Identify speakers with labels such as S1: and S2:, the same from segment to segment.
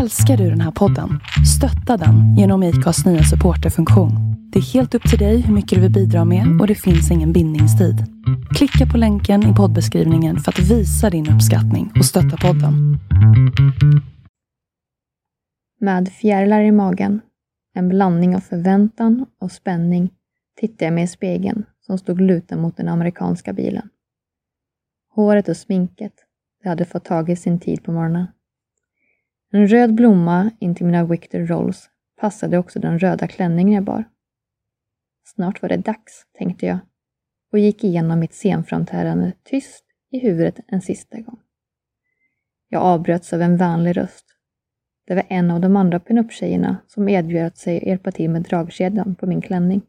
S1: Älskar du den här podden? Stötta den genom IKAs nya supporterfunktion. Det är helt upp till dig hur mycket du vill bidra med och det finns ingen bindningstid. Klicka på länken i poddbeskrivningen för att visa din uppskattning och stötta podden.
S2: Med fjärilar i magen, en blandning av förväntan och spänning, tittade jag mig i spegeln som stod lutad mot den amerikanska bilen. Håret och sminket, det hade fått tag i sin tid på morgonen. En röd blomma intill mina Victor Rolls passade också den röda klänningen jag bar. Snart var det dags, tänkte jag och gick igenom mitt scenframträdande tyst i huvudet en sista gång. Jag avbröts av en vänlig röst. Det var en av de andra pinup-tjejerna som erbjöd sig att hjälpa till med dragkedjan på min klänning.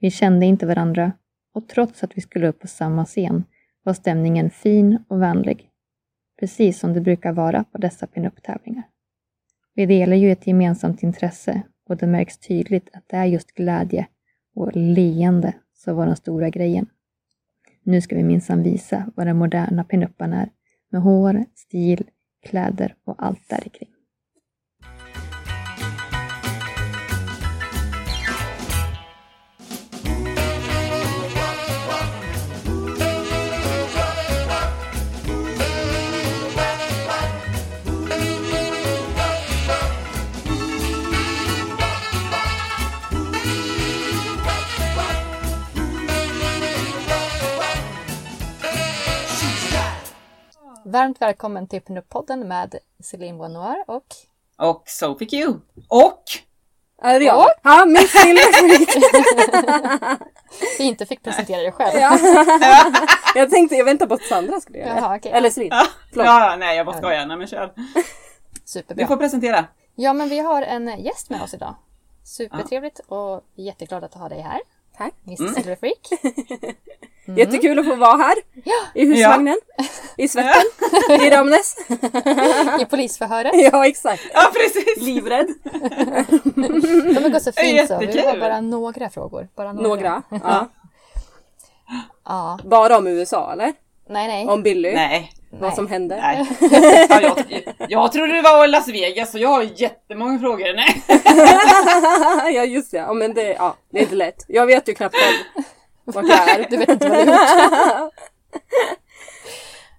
S2: Vi kände inte varandra och trots att vi skulle upp på samma scen var stämningen fin och vänlig. Precis som det brukar vara på dessa pinup-tävlingar. Vi delar ju ett gemensamt intresse och det märks tydligt att det är just glädje och leende som var den stora grejen. Nu ska vi minsann visa vad den moderna pinuppan är med hår, stil, kläder och allt där kring. Varmt välkommen till Pinup-podden med Céline Bonoir och...
S3: Och Sophie Q. Och!
S4: Är det jag? Ja, min silverfritt.
S2: Vi inte fick presentera dig själv.
S4: ja. Jag tänkte, jag väntar på att Sandra skulle göra det.
S2: Jaha, okej.
S4: Eller Céline.
S3: Ja,
S4: Förlåt.
S3: ja, nej jag bara skojar. Nej men kör. Du
S2: Superbra.
S3: får presentera.
S2: Ja, men vi har en gäst med oss idag. Supertrevligt och vi är jätteglada att ha dig här.
S4: Tack.
S2: Mr Silverfreak.
S4: Jättekul att få vara här.
S2: Ja,
S4: I husvagnen. I svetten. I Ramnäs.
S2: i polisförhöret.
S4: Ja, exakt.
S3: Ja precis!
S4: Livrädd.
S2: De är så
S3: Det är
S2: fint så. Vi har
S3: jättekul.
S2: bara några frågor. Bara några.
S4: Några. Ja.
S2: Ja.
S4: Bara om USA eller?
S2: Nej, nej.
S4: Om Billy.
S3: Nej.
S4: Vad som hände.
S3: Nej. Ja, jag, jag trodde det var Las Vegas så jag har jättemånga frågor. Nej.
S4: ja, just det. Ja, men det, ja, det är inte lätt. Jag vet ju knappt själv vart jag är.
S2: Du vet inte vad du har gjort.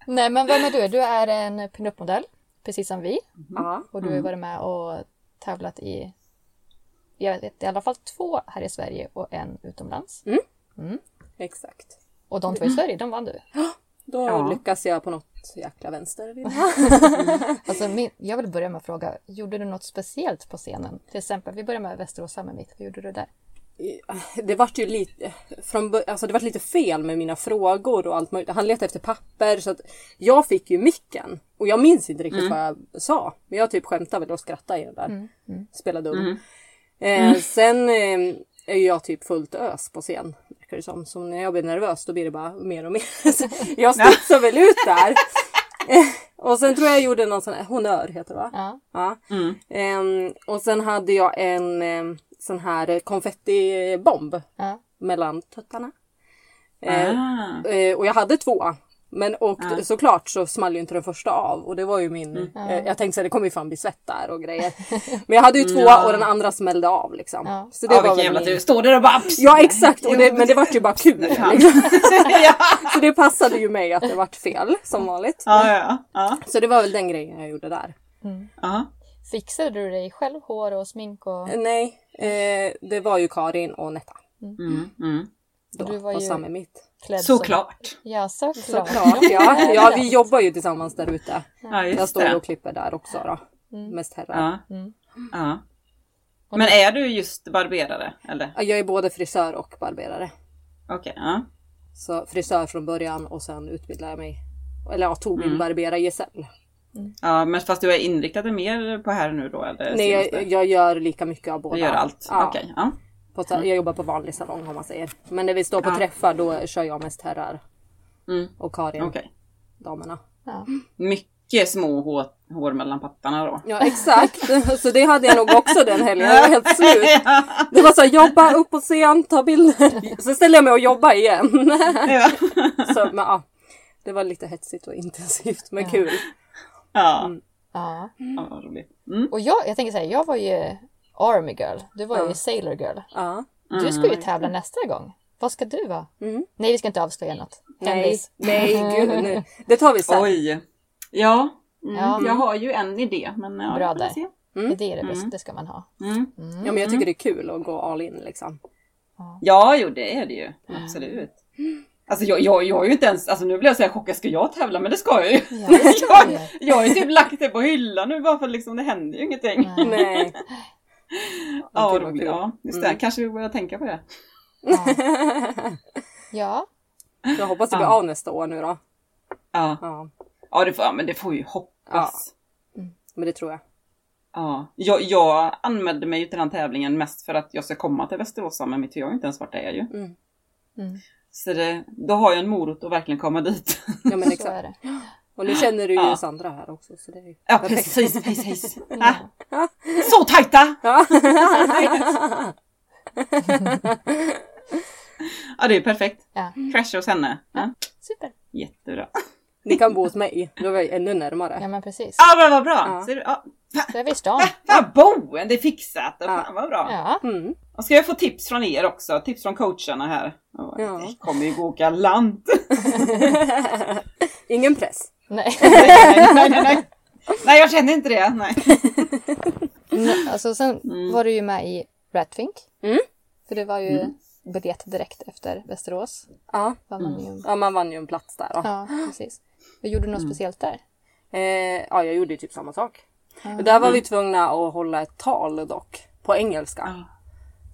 S2: Nej, men vem är du? Du är en pinup-modell, precis som vi.
S4: Ja.
S2: Och du har ju varit med och tävlat i jag vet, i alla fall två här i Sverige och en utomlands.
S4: Mm. Exakt.
S2: Och de två i Sverige, de vann du.
S4: Då
S3: Ja.
S4: lyckas jag på något jäkla vänster.
S2: Alltså, min, jag vill börja med att fråga, gjorde du något speciellt på scenen? Till exempel, vi börjar med Västerås Summermeet, vad gjorde du där?
S4: det vart ju lite, från, bör- alltså det vart lite fel med mina frågor och allt möjligt. Han letade efter papper så att jag fick ju micken. Och jag minns inte riktigt vad jag sa. Men jag typ skämtade väl och skrattade i den där. Spelade dum. Eh, sen eh, är ju jag typ fullt ös på scen. verkar det som. Så när jag blir nervös då blir det bara mer och mer. Så jag studsar väl ut där. Eh, och sen tror jag jag gjorde någon sån här honör heter det va?
S2: Ja.
S4: Ja.
S3: Mm.
S4: Ehm, och sen hade jag en ehm, sån här konfettibomb
S2: Ja.
S4: mellan tuttarna. Ehm,
S3: Ah.
S4: eh, och jag hade två. Men och såklart så small ju inte den första av och det var ju min,
S3: Mm.
S4: eh, jag tänkte så här, det kommer ju fan bli svett där och grejer. Men jag hade ju två och den andra smällde av liksom.
S2: Ja.
S4: Så
S3: Mm, Ja
S4: väl
S3: vilken jävla
S4: min-
S3: tur. Står där och bara pss.
S4: Ja exakt, och det, men det vart ju bara kul.
S3: Ja.
S4: Liksom.
S3: ja.
S4: Så det passade ju mig att det vart fel som vanligt.
S3: Mm. Ja, ja, ja.
S4: Så det var väl den grejen jag gjorde där.
S3: ja.
S2: Fixade du dig själv, hår och smink och...
S4: Eh, Nej, eh, det var ju Karin och Netta.
S3: Mm, mm.
S4: Då,
S2: du var
S4: på
S2: ju-
S4: samma mitt.
S2: klädd som-
S3: Såklart.
S2: Ja, såklart.
S4: Såklart ja. ja, vi jobbar ju tillsammans där ute.
S3: Ja
S4: Jag
S3: just
S4: står ju
S3: det. Mm.
S4: och klipper där också Mm. då. Mest herrar.
S3: Ja. Ja. Men är du just barberare eller?
S4: Ja. Jag är både frisör och barberare.
S3: Okej. ja.
S4: Så frisör från början och sen utbildar jag mig. Eller jag tog min barberargesäll.
S3: Mm. Ja men fast du är inriktad mer på här nu då eller?
S4: Nej jag,
S3: senaste?
S4: jag gör lika mycket av båda.
S3: Du gör allt?
S4: Ja.
S3: Okej. Ja.
S4: På, sa- jag jobbar på vanlig salong om man säger. Men när vi står på träffar då kör jag mest herrar.
S3: Mm.
S4: Och Karin
S3: Okej.
S4: damerna.
S2: Ja.
S3: Mycket små hår, hår mellan pattarna då.
S4: Ja exakt. Så det hade jag nog också den helgen. Jag var helt slut. Det var så här, jobba upp på scen, ta bilder. Så ställde jag mig och jobba igen.
S3: Ja.
S4: Så, men, ja, det var lite hetsigt och intensivt men kul.
S3: ja.
S2: Ja.
S3: Ja, vad roligt. Mm.
S2: Och jag, jag tänker så här, jag var ju Army Girl, du var ju
S4: Ja. Mm.
S2: Sailor Girl.
S4: Ja.
S2: Du ska ju
S3: Mm.
S2: tävla nästa gång. Vad ska du vara?
S4: Mm.
S2: Nej, vi ska inte avslöja något.
S4: Nej,
S2: Hemlis.
S4: nej, gud, nej. Det tar vi sen.
S3: Oj. Ja. Mm.
S2: Ja.
S3: Jag har ju en idé. Men ja,
S2: Bra
S3: vi får
S2: där.
S3: se.
S4: Mm.
S2: Det är det bästa,
S3: Mm.
S2: det ska man ha.
S3: Mm.
S2: Mm.
S4: Ja, men jag tycker det är kul att gå all in liksom.
S3: Ja, jo det är det ju. Absolut. Alltså jag, jag, jag är ju inte ens, alltså nu blir jag så här chockad, ska jag tävla? Men det ska jag ju.
S2: Ja, det ska
S3: jag,
S2: du ju.
S3: jag har ju typ lagt det på hyllan nu bara för liksom det händer ju ingenting.
S2: Nej.
S4: Nej.
S3: Ja,
S4: Kul,
S3: vad
S4: vad
S3: roligt.
S4: kul.
S3: Ja, just det.
S4: Mm.
S3: Kanske vi börjar tänka på det.
S2: Mm. Ja. ja.
S4: Jag hoppas det blir
S3: Ja.
S4: av nästa år nu då.
S3: Ja,
S4: Ja,
S3: ja, det, får, ja men det får vi ju hoppas.
S4: men det tror jag.
S3: Ja. Jag, jag anmälde mig ju till den tävlingen mest för att jag ska komma till Västerås med mitt, jag har ju inte ens varit där ju.
S4: Mm.
S2: Mm.
S3: Så det, då har jag en morot att verkligen komma dit.
S4: Ja, men
S2: så är
S4: exakt.
S2: det.
S4: Och nu känner du ju
S3: Ja.
S4: Sandra här också. Så det är ju...
S3: Ja
S4: Perfekt.
S3: precis, precis.
S4: Ah.
S2: Ja.
S3: Ja. Så tajta!
S4: Ja.
S3: Ja det är perfekt.
S2: Ja.
S3: Crasha hos henne. Ja.
S2: Super.
S3: Jättebra.
S4: Ni kan bo hos mig, då är jag ännu närmare.
S2: Ja, men precis.
S4: Ah.
S3: Ja men vad bra!
S4: Ja.
S3: Ser du? Ja.
S2: Då är vi i stan.
S3: Ah, Fan boende är fixat! Ja.
S4: Ja.
S3: Fan vad bra!
S2: Ja.
S4: Mm.
S3: Och ska jag få tips från er också, tips från coacherna här. Ja.
S4: Ja.
S3: Det kommer ju gå galant!
S4: Ingen press.
S2: Nej.
S3: nej, nej, nej, nej. nej jag känner inte det. Nej.
S2: Nej, Alltså, sen var du ju med i Ratfink.
S4: Mm.
S2: För det var ju biljett direkt efter Västerås.
S4: Ja.
S2: Vann man ju.
S4: ja, man vann ju en plats där. Då.
S2: Ja, precis. Och gjorde du något
S4: Mm.
S2: speciellt där?
S4: Eh, ja, jag gjorde ju typ samma sak. Och där
S2: Mm.
S4: var vi tvungna att hålla ett tal dock, på engelska.
S3: Ja.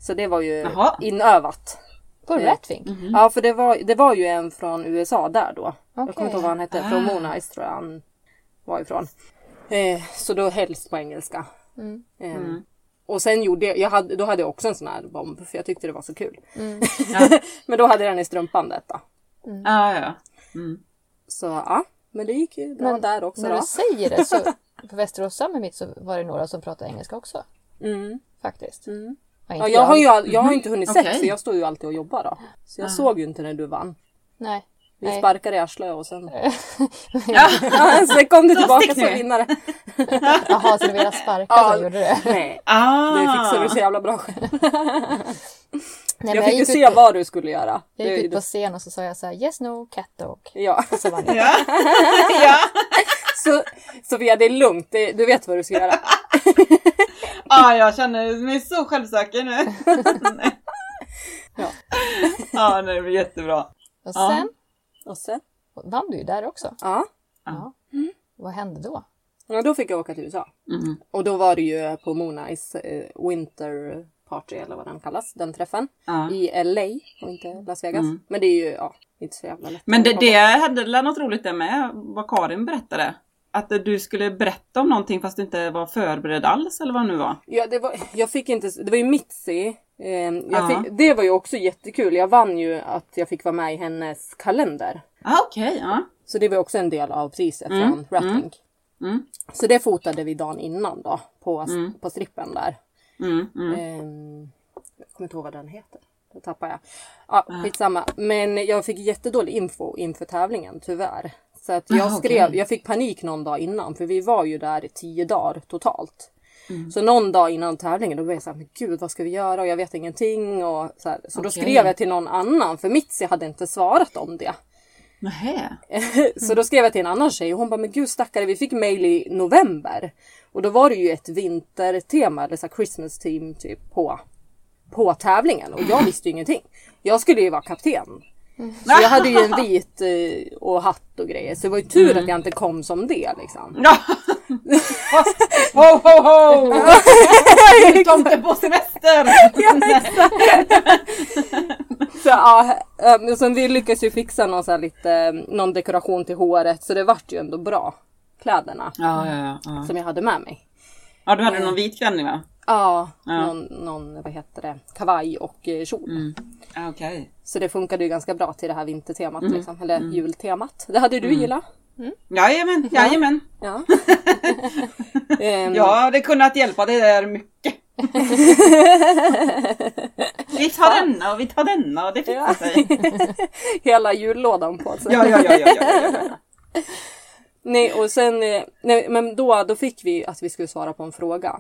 S4: Så det var ju
S3: Jaha.
S4: inövat.
S2: På
S4: Eh,
S2: Ratfink?
S4: Ja, för det var, det var ju en från USA där då. Jag
S2: Okej.
S4: kommer inte ihåg vad han hette, från Monize tror jag han var ifrån. Eh, så då helst på engelska.
S2: Mm.
S4: Eh, Och sen gjorde jag, jag hade, då hade jag också en sån här bomb för jag tyckte det var så kul.
S2: Mm.
S4: men då hade jag den i strumpan detta.
S3: Ah, Ja, ja, ja.
S4: Så ja, men det gick ju bra
S2: Men
S4: där också
S2: När
S4: då.
S2: du säger det så, på Västerås Summer Meet så var det några som pratade engelska också.
S4: Mm.
S2: Faktiskt. Ja,
S4: Ja,
S2: inte
S4: jag, har ju, all- jag har inte hunnit
S3: Okej.
S4: sett för jag står ju alltid och jobbar då. Så jag såg ju inte när du vann.
S2: Nej.
S4: Vi
S2: Ah. Nej.
S4: sparkade i arslet och sen... ja, sen kom du
S3: Så
S4: tillbaka
S3: stick
S4: som
S3: nu.
S4: vinnare.
S2: Jaha, så du ville sparka
S4: Ja.
S2: så gjorde du det.
S4: Nej,
S3: Ah.
S4: det fixar du så jävla bra själv.
S2: Nej, men
S4: Jag fick ju
S2: gick ut
S4: se
S2: på-
S4: vad du skulle göra.
S2: Jag gick
S4: Det-
S2: ut på scen och så sa jag så här Yes, no, cat dog.
S4: Ja,
S2: Och så vann jag.
S3: Ja. ja.
S4: så Sofia det är lugnt, Det- du vet vad du ska göra.
S3: ja, Ah, jag känner mig så självsäker nu. Nej.
S4: Ja.
S3: ja, nej, det blir jättebra.
S2: Och
S3: Ja.
S2: sen
S4: Och sen,
S2: vann du ju där också.
S4: ja.
S2: Vad hände då?
S4: ja, då fick jag åka till USA.
S3: Mm.
S4: Och då var det ju på Moonice eh, Winter Party eller vad den kallas, den träffen.
S3: Ja.
S4: I LA och inte Las Vegas.
S3: Mm.
S4: Men det är ju ja, inte så jävla lätt.
S3: Men det, det hände väl något roligt där med, vad Karin berättade. Att du skulle berätta om någonting fast du inte var förberedd alls eller vad det nu var.
S4: Ja, det var, jag fick inte, det var ju Mitzi. Ehm, jag
S3: Ja.
S4: fick, det var ju också jättekul. Jag vann ju att jag fick vara med i hennes kalender.
S3: Ah, Okej, ja.
S4: Så det var också en del av priset
S3: Mm,
S4: från Rattling.
S3: Mm.
S4: Så det fotade vi dagen innan då på, på strippen där.
S3: Mm, mm.
S4: Ehm, jag kommer inte ihåg vad den heter. Det tappar jag. Ja, skitsamma. Men jag fick jättedålig info inför tävlingen tyvärr. Så att jag
S3: Ah, okej.
S4: skrev, jag fick panik någon dag innan för vi var ju där i tio dagar totalt.
S3: Mm.
S4: Så någon dag innan tävlingen då blev jag såhär, men gud vad ska vi göra och jag vet ingenting. Och så här. så då
S3: Okej.
S4: skrev jag till någon annan för Mitzi hade inte svarat om det.
S3: Nähä.
S4: Så då skrev jag till en annan tjej och hon bara, men gud stackare, vi fick mail i november. Och då var det ju ett vintertema, eller så här Christmas team typ på, på tävlingen och jag visste ju ingenting. Jag skulle ju vara kapten. Så jag hade ju en vit eh, och hatt och grejer så det var ju tur att jag inte kom som det liksom.
S3: Ja. ho, ho, ho! Tomte på semester!
S4: Så, ja, eh, men sen vi lyckades ju fixa någon, så här lite, eh, någon dekoration till håret så det vart ju ändå bra. Kläderna
S3: Ja, ja, ja, ja.
S4: som jag hade med mig.
S3: Ja, du
S4: Mm.
S3: hade någon vit klänning va?
S4: Ja,
S3: Ja.
S4: Någon, någon vad heter det, kavaj och eh, kjol.
S3: Ja, Ah, Okej.
S4: Så det funkade ju ganska bra till det här vintertemat, liksom, eller jultemat. Det hade du gillat.
S3: Jajamän, jajamän.
S4: Ja. Ehm,
S3: Jag hade kunnat hjälpa dig där mycket. Vi tar denna och vi tar denna och det fixar
S4: Ja.
S3: sig.
S4: Hela jullådan på sig.
S3: Ja, ja, ja, ja, ja, ja, ja.
S4: Nej och sen, eh, nej, men då, då fick vi att vi skulle svara på en fråga.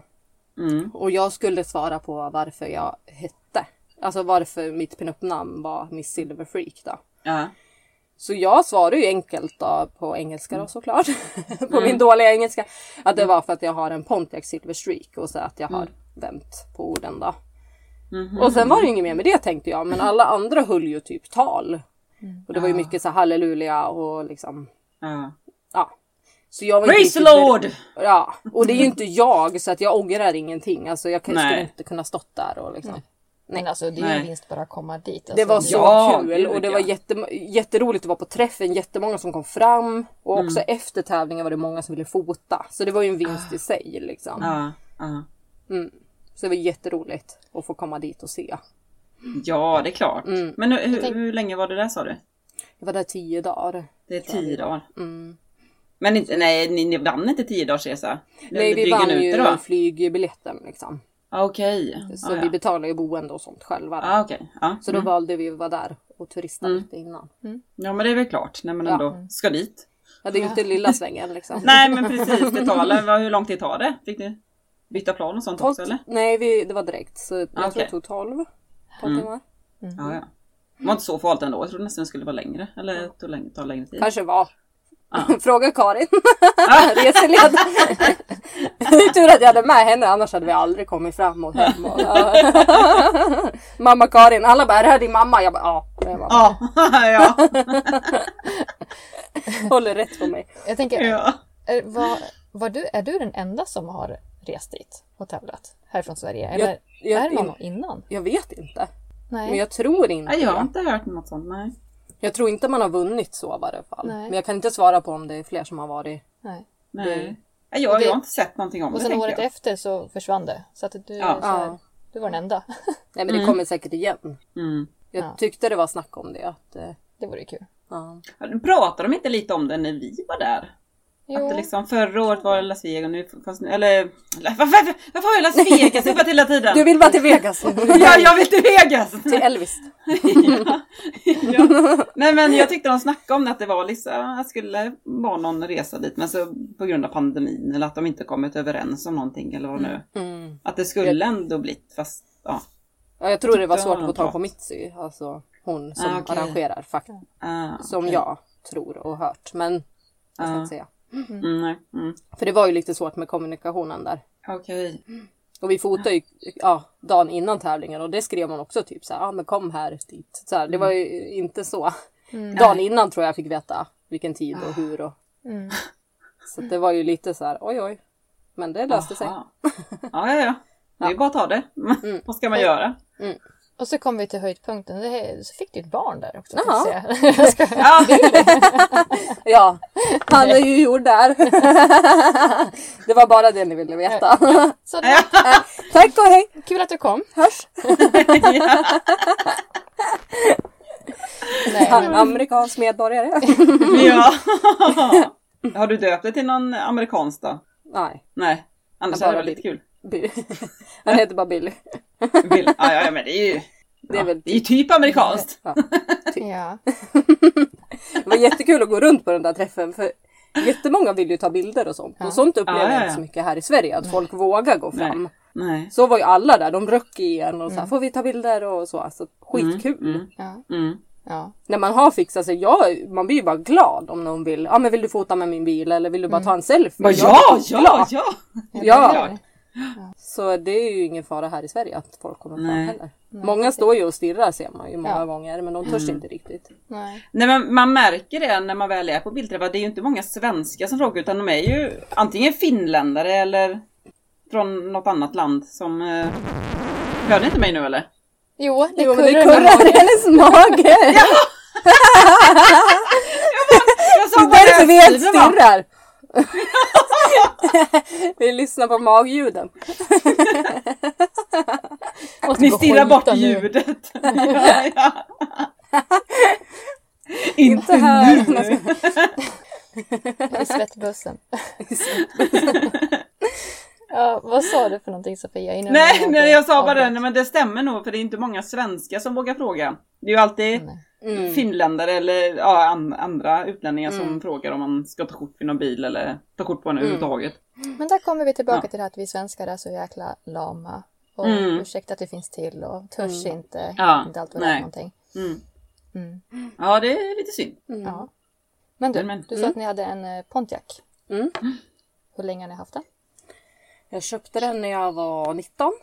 S3: Mm.
S4: Och jag skulle svara på varför jag hette. Alltså varför mitt pinup-namn var Miss Silver Freak då.
S3: Ja.
S4: Så jag svarade ju enkelt då på engelska
S3: Mm.
S4: då såklart. på min dåliga engelska. Att det var för att jag har en Pontiac Silver Streak och så att jag har vänt på orden då.
S3: Mm. Mhm.
S4: Och sen var det ju inget mer med det tänkte jag. Men alla andra höll ju typ tal. Och det var ju
S3: Mm. Ja.
S4: mycket så här halleluja och liksom
S3: ja.
S4: ja. Så jag var inte
S3: Praise the
S4: riktigt beredd-
S3: Lord!
S4: Ja, och det är ju inte jag så att jag ångrar ingenting. Alltså jag kan,
S3: Nej.
S4: skulle inte kunna stått där och liksom.
S2: Men alltså det är ju
S3: Nej.
S2: en vinst bara att komma dit. Alltså,
S4: Det var så
S3: Ja,
S4: kul
S3: gud,
S4: och det var
S3: ja.
S4: jättem- jätteroligt att vara på träffen. Jättemånga som kom fram och
S3: Mm.
S4: också efter tävlingen var det många som ville fota. Så det var ju en vinst i sig liksom.
S3: Ah. Ja, ja.
S4: Så det var jätteroligt att få komma dit och se.
S3: ja, det är klart.
S4: Mm.
S3: Men hur, hur,
S2: tänk-
S3: hur länge var det där sa du?
S4: Jag var där tio dagar.
S3: Det är tio dagar.
S4: Mm.
S3: Men inte, nej, ni, ni vann inte tio dagars resa? Ni
S4: Nej, vi
S3: drygen
S4: vann
S3: ute
S4: ju
S3: då?
S4: flygbiljetten liksom.
S3: Ah, Okej.
S4: Så
S3: Ah,
S4: vi
S3: ja.
S4: betalade ju boende och sånt själva. då.
S3: Ah, Mm. okej. ja.
S4: Så då valde vi att vara där och turista lite innan.
S3: ja, men det är väl klart när man
S4: Ja.
S3: ändå ska dit.
S4: Ja,
S3: Ah.
S4: det är ju inte lilla svängen liksom.
S3: Nej, men precis. Det tar väl, vad- hur lång tid tar det? Fick ni byta plan och sånt
S4: Tolv-
S3: också eller?
S4: Nej, vi, det var direkt. Så jag tror
S3: Okej. Mm.
S4: det tog 12. 12 timmar.
S3: Ja,
S4: Mm.
S3: ja. Det var inte så farligt ändå. Jag trodde nästan det skulle vara längre. Eller det tog längre, tar längre tid.
S4: Kanske var.
S3: Ja.
S4: Fråga Karin, reseledare. Tur att jag hade med henne, annars hade vi aldrig kommit fram och hem. Och, ja. mamma Karin, alla bara, är det här din mamma? Jag bara, ja. det är mamma.
S3: Ja, ja,
S4: Håller rätt på mig.
S2: Jag tänker,
S3: ja.
S2: är, var, var du, är du den enda som har rest dit och tävlat härifrån Sverige? Eller
S4: jag-
S2: är det någon innan?
S4: Jag vet inte.
S2: Nej.
S4: Men jag tror inte
S3: Nej, jag har
S4: det.
S3: inte hört något sånt. Nej.
S4: Jag tror inte man har vunnit så i varje fall.
S2: Nej.
S4: Men jag kan inte svara på om det är fler som har varit.
S2: Nej.
S3: Nej. Nej, Jag, jag har inte sett någonting om
S2: Och
S3: det.
S2: sen
S3: tänker
S2: året
S3: jag.
S2: efter så försvann det. Så att du,
S3: Ja.
S2: så här,
S4: Ja.
S2: du var den enda.
S4: Nej men det kommer säkert igen.
S3: Mm.
S4: Jag
S2: Ja.
S4: tyckte det var snack om det. Att, eh,
S2: det vore ju kul.
S4: ja.
S3: Pratade de inte lite om det när vi var där? Att det liksom förra året var det Las Vegas och nu, fast, nu- eller varför, varför, varför har jag Las Vegas i hela tiden?
S4: Du vill vara till Vegas!
S3: Ja, jag vill till Vegas!
S4: Till Elvis.
S3: ja, ja. Nej men jag tyckte de snackade om det att det var liksom, jag skulle vara någon resa dit men så på grund av pandemin eller att de inte kommit överens om någonting eller vad nu.
S4: Mm.
S3: Att det skulle ändå blivit fast ja.
S4: Ja, jag tror det var
S3: Tyckte
S4: svårt
S3: hon
S4: att få tag
S3: prat.
S4: på Mitzi. Alltså hon som
S3: Ah, okej.
S4: arrangerar faktiskt.
S3: Ah,
S4: Som
S3: okej.
S4: jag tror och hört. Men jag ska
S3: Ja.
S4: inte säga.
S3: Mm, nej, mm.
S4: För det var ju lite svårt med kommunikationen där.
S3: Okej.
S4: Och vi fotade ju ja, dagen innan tävlingen och det skrev man också typ så här, ja ah, men kom här dit. Så här, det var ju
S3: Mm.
S4: inte så. Dagen innan tror jag fick veta vilken tid
S3: Ah.
S4: och hur och
S2: Mm.
S4: så att det var ju lite så här oj oj. Men det löste sig. Mm.
S3: Aha. Ja, ja, ja. Det är ju bara att ta det. vad ska man göra?
S2: Och så kom vi till höjdpunkten. Det, här- så fick du ett barn där också.
S4: Jaha.
S2: tänkte jag säga. Jag ska-
S3: Ja,
S4: Ja, han är ju gjord där. Det var bara det ni ville veta.
S2: så det var
S4: Tack och hej!
S2: kul att du kom.
S4: Hörs!
S2: Nej,
S4: Han är amerikansk medborgare.
S3: ja. Har du döpt det till någon amerikansk då?
S4: Nej,
S3: Nej. Annars
S4: Jag
S3: hade
S4: bara
S3: det varit lite kul.
S4: Bill. Han heter bara Billy.
S3: Bill. Ja, ja, ja, men det är ju...
S4: Det är väl
S3: Det är ju typ amerikanskt.
S4: Ja.
S2: ja.
S4: Det var jättekul att gå runt på den där träffen för jättemånga vill ju ta bilder och sånt. Och sånt upplever
S3: Ja, ja,
S4: jag
S3: ja.
S4: inte så mycket här i Sverige, att folk vågar gå fram.
S3: Nej. Nej.
S4: Så var ju alla där, de röck i en och så här, får vi ta bilder och så. Alltså, skitkul!
S2: Ja.
S3: Mm.
S2: Ja.
S4: När man har fixat sig, jag, man blir ju bara glad om någon vill, ja ah, men vill du fota med min bil eller vill du bara ta en selfie?
S3: Mm. Bara,
S4: Jag
S3: ja,
S4: blir
S3: ja,
S4: glad.
S3: ja!
S4: Ja.
S3: Klart.
S4: Så det är ju ingen fara här i Sverige att folk kommer fram
S3: Nej. Mm.
S4: heller. Många står ju och stirrar ser man ju många
S2: Ja.
S4: gånger men de törs inte riktigt.
S2: Nej.
S3: Nej, men man märker det när man väl är på bildträffar. Det är ju inte många svenskar som frågar utan de är ju antingen finländare eller från något annat land som... eh, Hör ni inte mig nu eller?
S2: Jo, det
S4: Jo men det
S2: kurrar.
S4: kurrar i hennes mage!
S3: Jag sa
S4: Det är därför vi ens
S3: östsidor, va?
S4: stirrar! vi lyssnar på magljuden.
S2: Måste
S3: Ni
S2: gå och
S3: stirrar bort
S2: skita
S3: i
S2: nu.
S3: ljudet. ja, ja.
S4: Inte här.
S2: I svettbussen. Ja, vad sa du för någonting Sofia? Innan
S3: Nej, nej, jag sa bara det,
S2: avbröt.
S3: nej, men det stämmer nog för det är inte många svenskar som vågar fråga. Det är ju alltid
S2: Nej.
S4: Mm.
S3: finländare eller ja, an, andra utlänningar som
S4: Mm.
S3: frågar om man ska ta kort vid någon bil eller ta kort på en överhuvudtaget.
S2: Men där kommer vi tillbaka
S3: Ja.
S2: till det här att vi svenskar är så jäkla lama. Och
S3: Mm.
S2: ursäkta att vi finns till och törs inte.
S3: Ja,
S2: Inte allt vad det
S3: nej.
S2: är för någonting.
S3: Mm.
S2: Mm.
S3: Ja, det är lite synd.
S2: Ja. Men du,
S3: Men- Mm.
S2: du sa att ni hade en eh, Pontiac.
S4: Mm.
S2: Hur länge har ni haft den?
S4: Jag köpte den när jag var 19.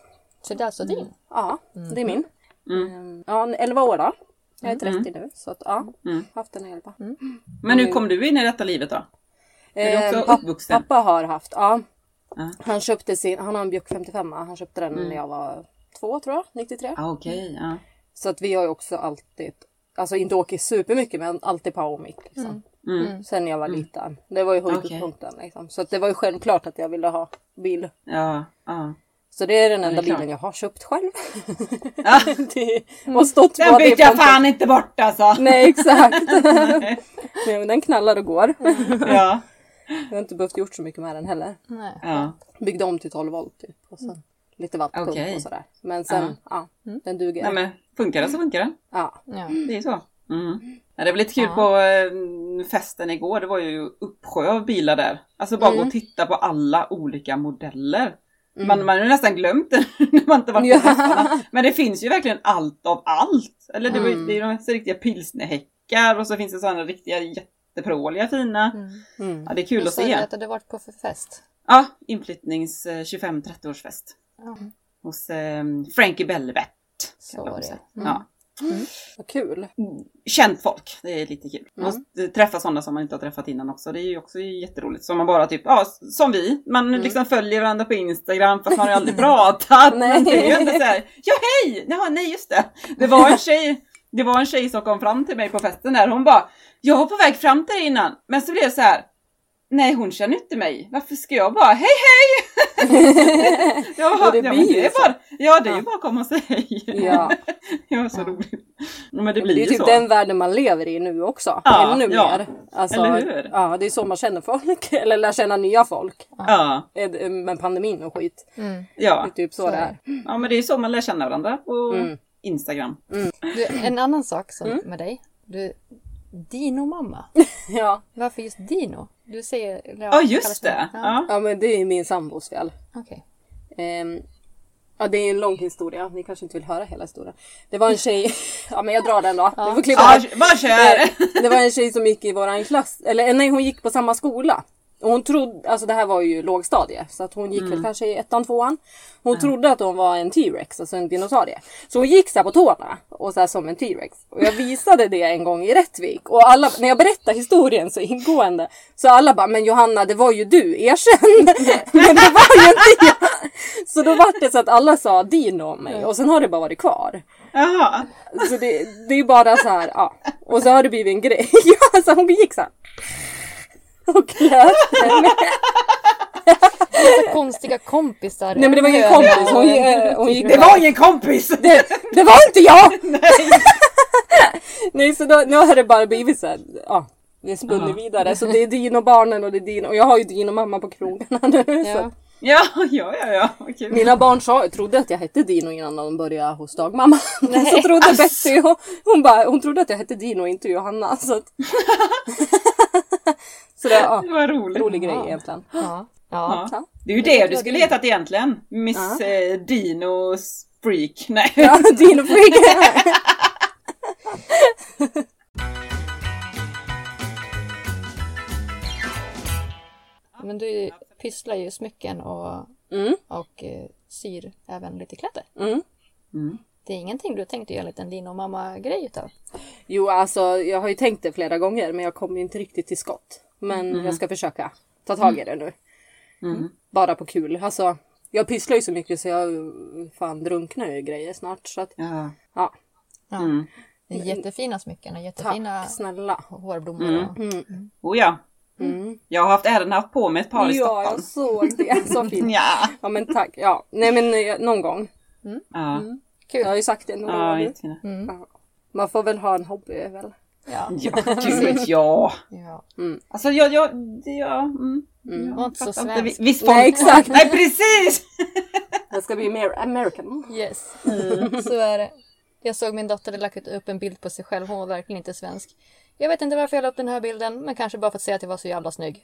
S2: Så det är alltså din?
S4: Ja, det är min.
S3: Mm.
S4: Ehm, Ja, en 11 år då. Jag är 30 nu så att ja,
S3: Mm.
S4: haft den i 11.
S3: Men
S4: Mm.
S3: hur kom du in i detta livet då? Är du
S4: Ehm,
S3: också
S4: papp-
S3: uppvuxen?
S4: pappa har haft, ja.
S3: Ja. Mm.
S4: Han köpte sin, han har en Bjuck 55 han köpte den när jag var två tror jag, 93.
S3: Ah, Okej,
S4: Mm.
S3: ja.
S4: Så att vi har ju också alltid, alltså inte åkt supermycket men alltid power mic liksom.
S3: Mm.
S4: Sen jag var liten. Det var ju höjdpunkten liksom. Så att det var ju självklart att jag ville ha bil.
S3: ja, ja.
S4: Så det är den enda
S3: det är klart.
S4: bilen jag har köpt själv.
S3: Ja.
S4: det, och stått på
S3: Mm. Den
S4: det i
S3: byter jag
S4: 15
S3: fan inte bort alltså!
S4: Nej exakt. Nej, men den knallar och går.
S3: Mm. Ja,
S4: Jag har inte behövt gjort så mycket med den heller.
S2: Nej.
S3: ja.
S4: Byggde om till 12 volt typ. Och sen
S3: Mm.
S4: lite wattpump
S3: Okej.
S4: och sådär. Men sen,
S3: Ja.
S4: ja. Den duger.
S3: Nej, men funkar det så funkar det.
S4: Ja.
S2: Ja.
S3: Det är så. Mm. Ja, det var lite kul på eh, festen igår. Det var ju uppsjö av bilar där. Alltså bara gå och titta på alla olika modeller. Man, man har ju nästan glömt det när man inte varit på
S4: Ja.
S3: festerna. Men det finns ju verkligen allt av allt. Eller det, var ju, det är ju de så riktiga pilsnerhäckar och så finns det sådana riktiga jättepråliga fina.
S4: Mm.
S3: Ja, det är kul
S2: Du
S3: att
S2: sa ju
S3: se.
S2: att du hade varit på för fest.
S3: Ja, inflyttnings eh, 25-30-årsfest.
S2: Ja.
S3: Hos eh, Frankie Belvet.
S2: Så var det.
S3: Ja.
S4: Vad kul.
S3: känt folk. Det är lite kul.
S4: Mm.
S3: Och träffa sådana som man inte har träffat innan också. Det är ju också jätteroligt. Som man bara typ, ja, som vi. Man
S4: Mm.
S3: liksom följer varandra på Instagram fast man har ju aldrig pratat.
S4: Nej.
S3: Men det är ju inte så här, ja hej! Jaha, nej just det. Det var en tjej. Det var en tjej som kom fram till mig på festen där. Hon bara, jag var på väg fram till dig innan. Men så blev det så här. Nej hon känner inte mig. Varför ska jag bara, hej hej! jag bara,
S4: Och det
S3: ja, men
S4: blir
S3: det
S4: ju
S3: är
S4: så.
S3: bara, ja det är ju bara att komma och säga hej.
S4: Ja.
S3: Det var så roligt. Men det
S4: Det
S3: blir
S4: är ju
S3: ju
S4: typ
S3: så.
S4: den världen man lever i nu också.
S3: Ja,
S4: Ännu
S3: ja.
S4: mer. Alltså,
S3: Eller hur?
S4: Ja, det är så man känner folk. Eller lär känna nya folk.
S3: Ja,
S4: Eh, det- Med pandemin och skit. Det
S3: ja.
S4: är typ så, det är.
S3: ja, men det är så man lär känna varandra på Instagram.
S2: Du, en annan sak som,
S4: Mm.
S2: med dig. Du, Dino-mamma.
S4: Ja.
S2: Varför just Dino? Du säger... eller
S3: Ja,
S2: kallas
S3: just
S2: du-
S3: det.
S2: Ja.
S3: Ja.
S4: ja, men det är min sambos fel.
S2: Okej.
S4: Ehm, ja, det är en lång historia. Ni kanske inte vill höra hela historien. Det var en tjej... ja, men jag drar den då. Du får klippa
S3: Ja,
S4: bort.
S3: bara kör!
S4: Det- Det var en tjej som gick i våran klass, eller nej hon gick på samma skola. Och hon trodde, alltså det här var ju lågstadie så att hon gick väl kanske i ettan, tvåan. Hon trodde att hon var en T-rex, alltså en dinosaurie. Så hon gick så här på tårna och så här som en T-rex. Och jag visade det en gång i Rättvik och alla, när jag berättar historien så ingående så alla bara, men Johanna det var ju du, erkänn! men det var ju inte jag! Så då var det så att alla sa Dino om mig och sen har det bara varit kvar.
S3: Jaha.
S4: Så det, det är ju bara så här, ja. Och så har det blivit en grej. Ja, alltså hon gick så här. Och klöt henne.
S2: Så konstiga kompisar.
S4: Nej men det var ingen
S2: Ja.
S4: kompis. Hon, eh, hon gick
S3: Det var ingen kompis!
S4: det, det var inte jag! Nej, så då, nu har det bara blivit så här, ja. Det spunner vidare. Så det är din och barnen och det är din och jag har ju din och mamma på krogarna nu. Så
S2: Ja.
S4: att
S3: Ja, ja, ja, ja. Vad kul.
S4: Mina barn sa, trodde att jag hette Dino innan de började hos dagmamma. så trodde Betty, hon, hon, bara, hon trodde att jag hette Dino och inte Johanna. Så, att... så det, ja,
S3: Det var roligt.
S4: rolig grej egentligen.
S2: Ja. Ja.
S3: Ja. Det är ju det du skulle hetat egentligen. Miss
S4: Ja.
S3: eh, Dino Freak. Nej.
S4: Ja, Dino Freak!
S2: Men du pysslar ju smycken och,
S4: Mm.
S2: och eh, syr även lite kläder.
S4: Mm.
S2: Det är ingenting du tänkte göra en liten Dino-mamma-grej utav?
S4: Jo, alltså jag har ju tänkt det flera gånger men jag kommer ju inte riktigt till skott. Men jag ska försöka ta tag i det nu.
S3: Mm.
S4: Bara på kul. Alltså, jag pysslar ju så mycket så jag uh, fan drunknar ju i grejer snart. Så att,
S3: Ja. Mm.
S4: ja,
S2: Ja. Det är jättefina smycken och
S4: tack
S2: jättefina
S4: snälla.
S2: hårblommor. Och...
S3: Oh ja.
S4: Mm.
S3: Jag har haft äran att ha på mig ett par i
S4: Ja,
S3: Stockholm.
S4: jag såg det. Så fint.
S3: Ja.
S4: Ja men tack. Ja. Nej men eh, någon gång.
S3: Ja,
S4: Jag har ju sagt det några
S3: ja Mm.
S4: gånger.
S3: jättefina.
S4: Ja. Man får väl ha en hobby väl?
S2: Ja.
S3: Ja, gud ja.
S2: Ja.
S3: Alltså jag, jag, det- ja. Mm.
S4: Mm.
S2: Var inte så
S3: Fattar inte
S2: svensk.
S3: vi- visst folk.
S4: Nej exakt,
S3: Nej precis!
S4: det ska bli mer American.
S2: Yes, Mm. så är det. Jag såg min dotter hade lagt upp en bild på sig själv. Hon var verkligen inte svensk. Jag vet inte varför jag la upp den här bilden, men kanske bara för att säga att jag var så jävla snygg.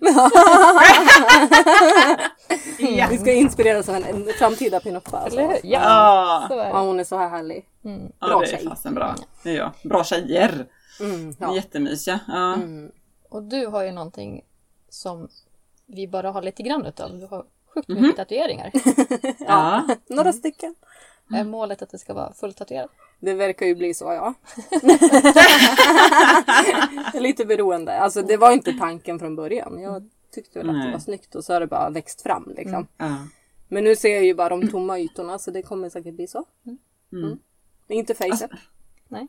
S3: Ja.
S4: Vi ska inspireras av en, en framtida pinoffa.
S2: Eller
S4: Alltså.
S2: hur? Ja,
S3: Ja,
S2: så är
S4: Ja,
S2: det.
S4: hon är så här härlig.
S2: Mm.
S3: Ja,
S4: Bra
S3: det
S4: tjej.
S3: är fasen bra. Det är jag. Bra tjejer.
S4: Mm,
S3: Ja.
S4: ja.
S3: Jättemysiga. Ja.
S4: Mm.
S2: Och du har ju någonting som vi bara har lite grann utav. Du har sjukt mycket tatueringar.
S3: Ja.
S4: Några stycken.
S2: Är
S3: Mm.
S2: målet att det ska vara fulltatuerat?
S4: Det verkar ju bli så ja. Lite beroende. Alltså det var inte tanken från början. Jag tyckte väl att det
S3: Nej. Mm.
S4: var snyggt och så har det bara växt fram liksom.
S3: ja.
S4: Men nu ser jag ju bara de tomma ytorna så det kommer säkert bli så.
S3: Mm.
S4: Men Inte facet.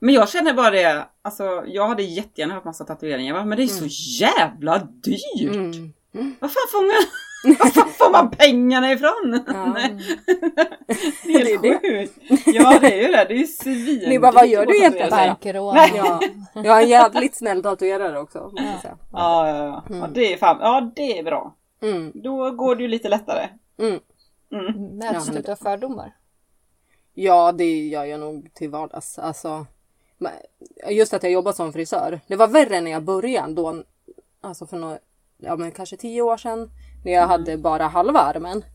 S3: Men jag känner bara det, alltså jag hade jättegärna haft massa tatueringar va? men det är så jävla dyrt!
S4: Mm.
S3: Var fan får man, var fan får man pengarna ifrån?
S4: Ja.
S3: Nej. Det är helt sjukt! Ja det är ju det, det är ju svindyrt!
S4: Ni bara, vad gör du
S3: att
S4: egentligen?
S3: tatuera sig.
S4: Nej.
S2: Bankerån.
S3: Nej.
S4: Ja. Jag är en jävligt snäll tatuerare också. Måste jag säga.
S3: Ja, ja, ja. ja det är fan, ja det är bra.
S4: Mm.
S3: Då går det ju lite lättare.
S4: Mm.
S3: Mm.
S2: Möts du utav fördomar?
S4: Ja, det gör jag nog till vardags. Alltså, men just att jag jobbar som frisör. Det var värre när jag började då, alltså för några, ja, men kanske tio år sedan, när jag hade bara halva armen.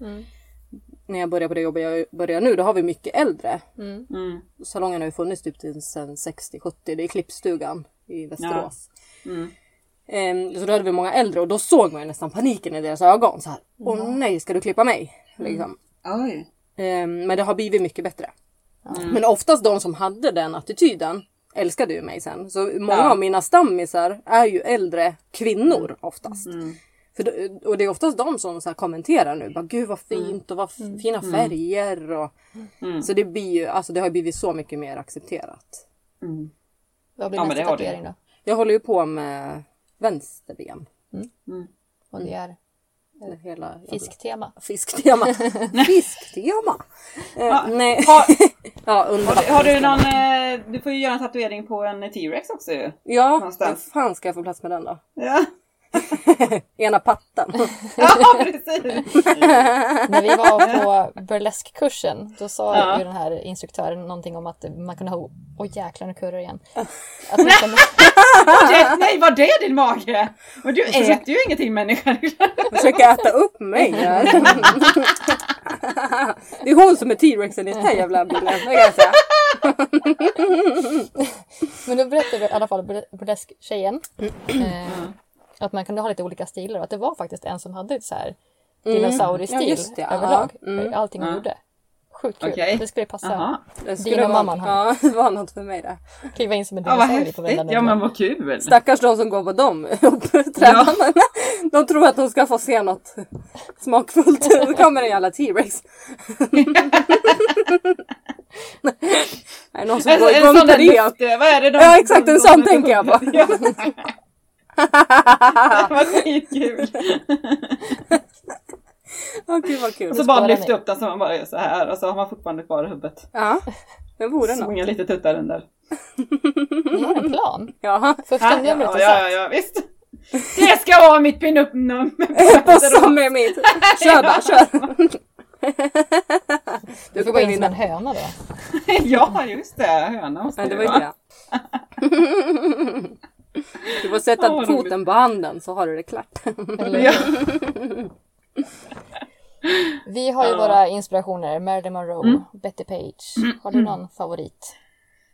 S4: När jag började på det jobbet jag börjar nu, då har vi mycket äldre.
S3: Mm.
S4: Salongen har ju funnits typ till sedan 60-70, det är Klippstugan i Västerås.
S3: Mm.
S4: Ehm, så då hade vi många äldre och då såg man ju nästan paniken i deras ögon. Så här, Åh nej, ska du klippa mig? Liksom.
S3: Oj.
S4: Ehm, Men det har blivit mycket bättre.
S3: Mm.
S4: Men oftast de som hade den attityden älskade ju mig sen. Så många
S3: Ja.
S4: av mina stammisar är ju äldre kvinnor oftast.
S3: Mm.
S4: För, d- och det är oftast de som så här kommenterar nu. Bara, Gud vad
S3: Mm.
S4: fint och vad f- fina färger. Och, Så det, blir ju, alltså det har blivit så mycket mer accepterat.
S3: Mm.
S2: Vad blir
S3: Ja, men
S2: nästa
S3: det har du.
S2: tatuering då?
S4: Jag håller ju på med vänsterben.
S2: Och
S3: Mm.
S2: det är
S4: Eller hela jävla-
S2: fisktema.
S4: Fisktema. Fisktema! Eh,
S3: Ja.
S4: nej.
S3: Har,
S4: ja, under
S3: har, du- har du någon, eh, du får ju göra en tatuering på en T-Rex också ju.
S4: Ja, hur
S3: någonstans?
S4: fan ska jag få plats med den då?
S3: Ja.
S4: Ena patten.
S3: Ja, precis!
S2: När vi var på burleskkursen då sa
S3: Ja.
S2: ju den här instruktören någonting om att man kunde ha... Åh jäklar, nu kurrar det igen. Att man kunde...
S3: Det, nej, vad det är din mage? Men du äter ju ingenting människa.
S4: Försöka äta upp mig här. Det är hon som är T-rexen i den här jävla bilden. Det kan jag säga.
S2: Men då berättade i alla fall burle- burlesktjejen eh, att man kunde ha lite olika stilar och att det var faktiskt en som hade ett så här
S3: Mm.
S2: dinosauriestil
S4: Ja, just det, ja.
S2: överlag.
S4: Mm.
S2: Allting hon
S3: Ja.
S2: gjorde. Sjukt kul.
S3: Okej.
S2: Det skulle ju passa.
S3: Jaha,
S4: Det
S2: Dina
S4: vara-
S2: mamman har-
S4: Ja, det var något för mig där.
S2: Kliva in som en
S3: ja, vad
S2: dinosaurie på
S3: häftigt.
S2: vändan.
S3: Ja men vad kul.
S4: Stackars de som går på dem, uppträdandena. De tror att de ska få se något smakfullt. Då kommer en jävla T-rex. Nej, någon som
S3: En,
S4: går
S3: Alltså, en sån
S4: igång på
S3: där
S4: det.
S3: luft, eh, vad är det de,
S4: Ja, exakt, en
S3: de-
S4: sån
S3: de-
S4: tänker jag på.
S3: Ja. vad skitkul.
S4: Åh gud vad kul.
S3: Och så bara
S2: spårar
S3: lyfta
S2: ni.
S3: upp den så man bara gör så här och så har man fortfarande kvar huvudet.
S4: Ja, det vore något.
S3: Svunga lite tuttar under.
S2: Ni har "Mm, en plan.
S4: Ja.
S2: Första
S3: ja,
S2: numret
S3: ja,
S2: är
S3: ja,
S2: satt.
S3: ja, visst. Det ska vara mitt pinup-nummer.
S4: På som är mitt. Kör bara, kör.
S2: Du får gå in som en höna då.
S3: Ja, just det. Höna måste
S4: Nej, det
S3: ju
S4: var inte
S3: vara.
S4: det. Du får
S3: Ja,
S4: sätta
S3: vad
S4: foten på handen så har du det klart.
S2: Eller-
S3: Ja.
S2: Vi har ju våra inspirationer. Marilyn Monroe,
S4: Mm.
S2: Betty Page. Har du någon favorit?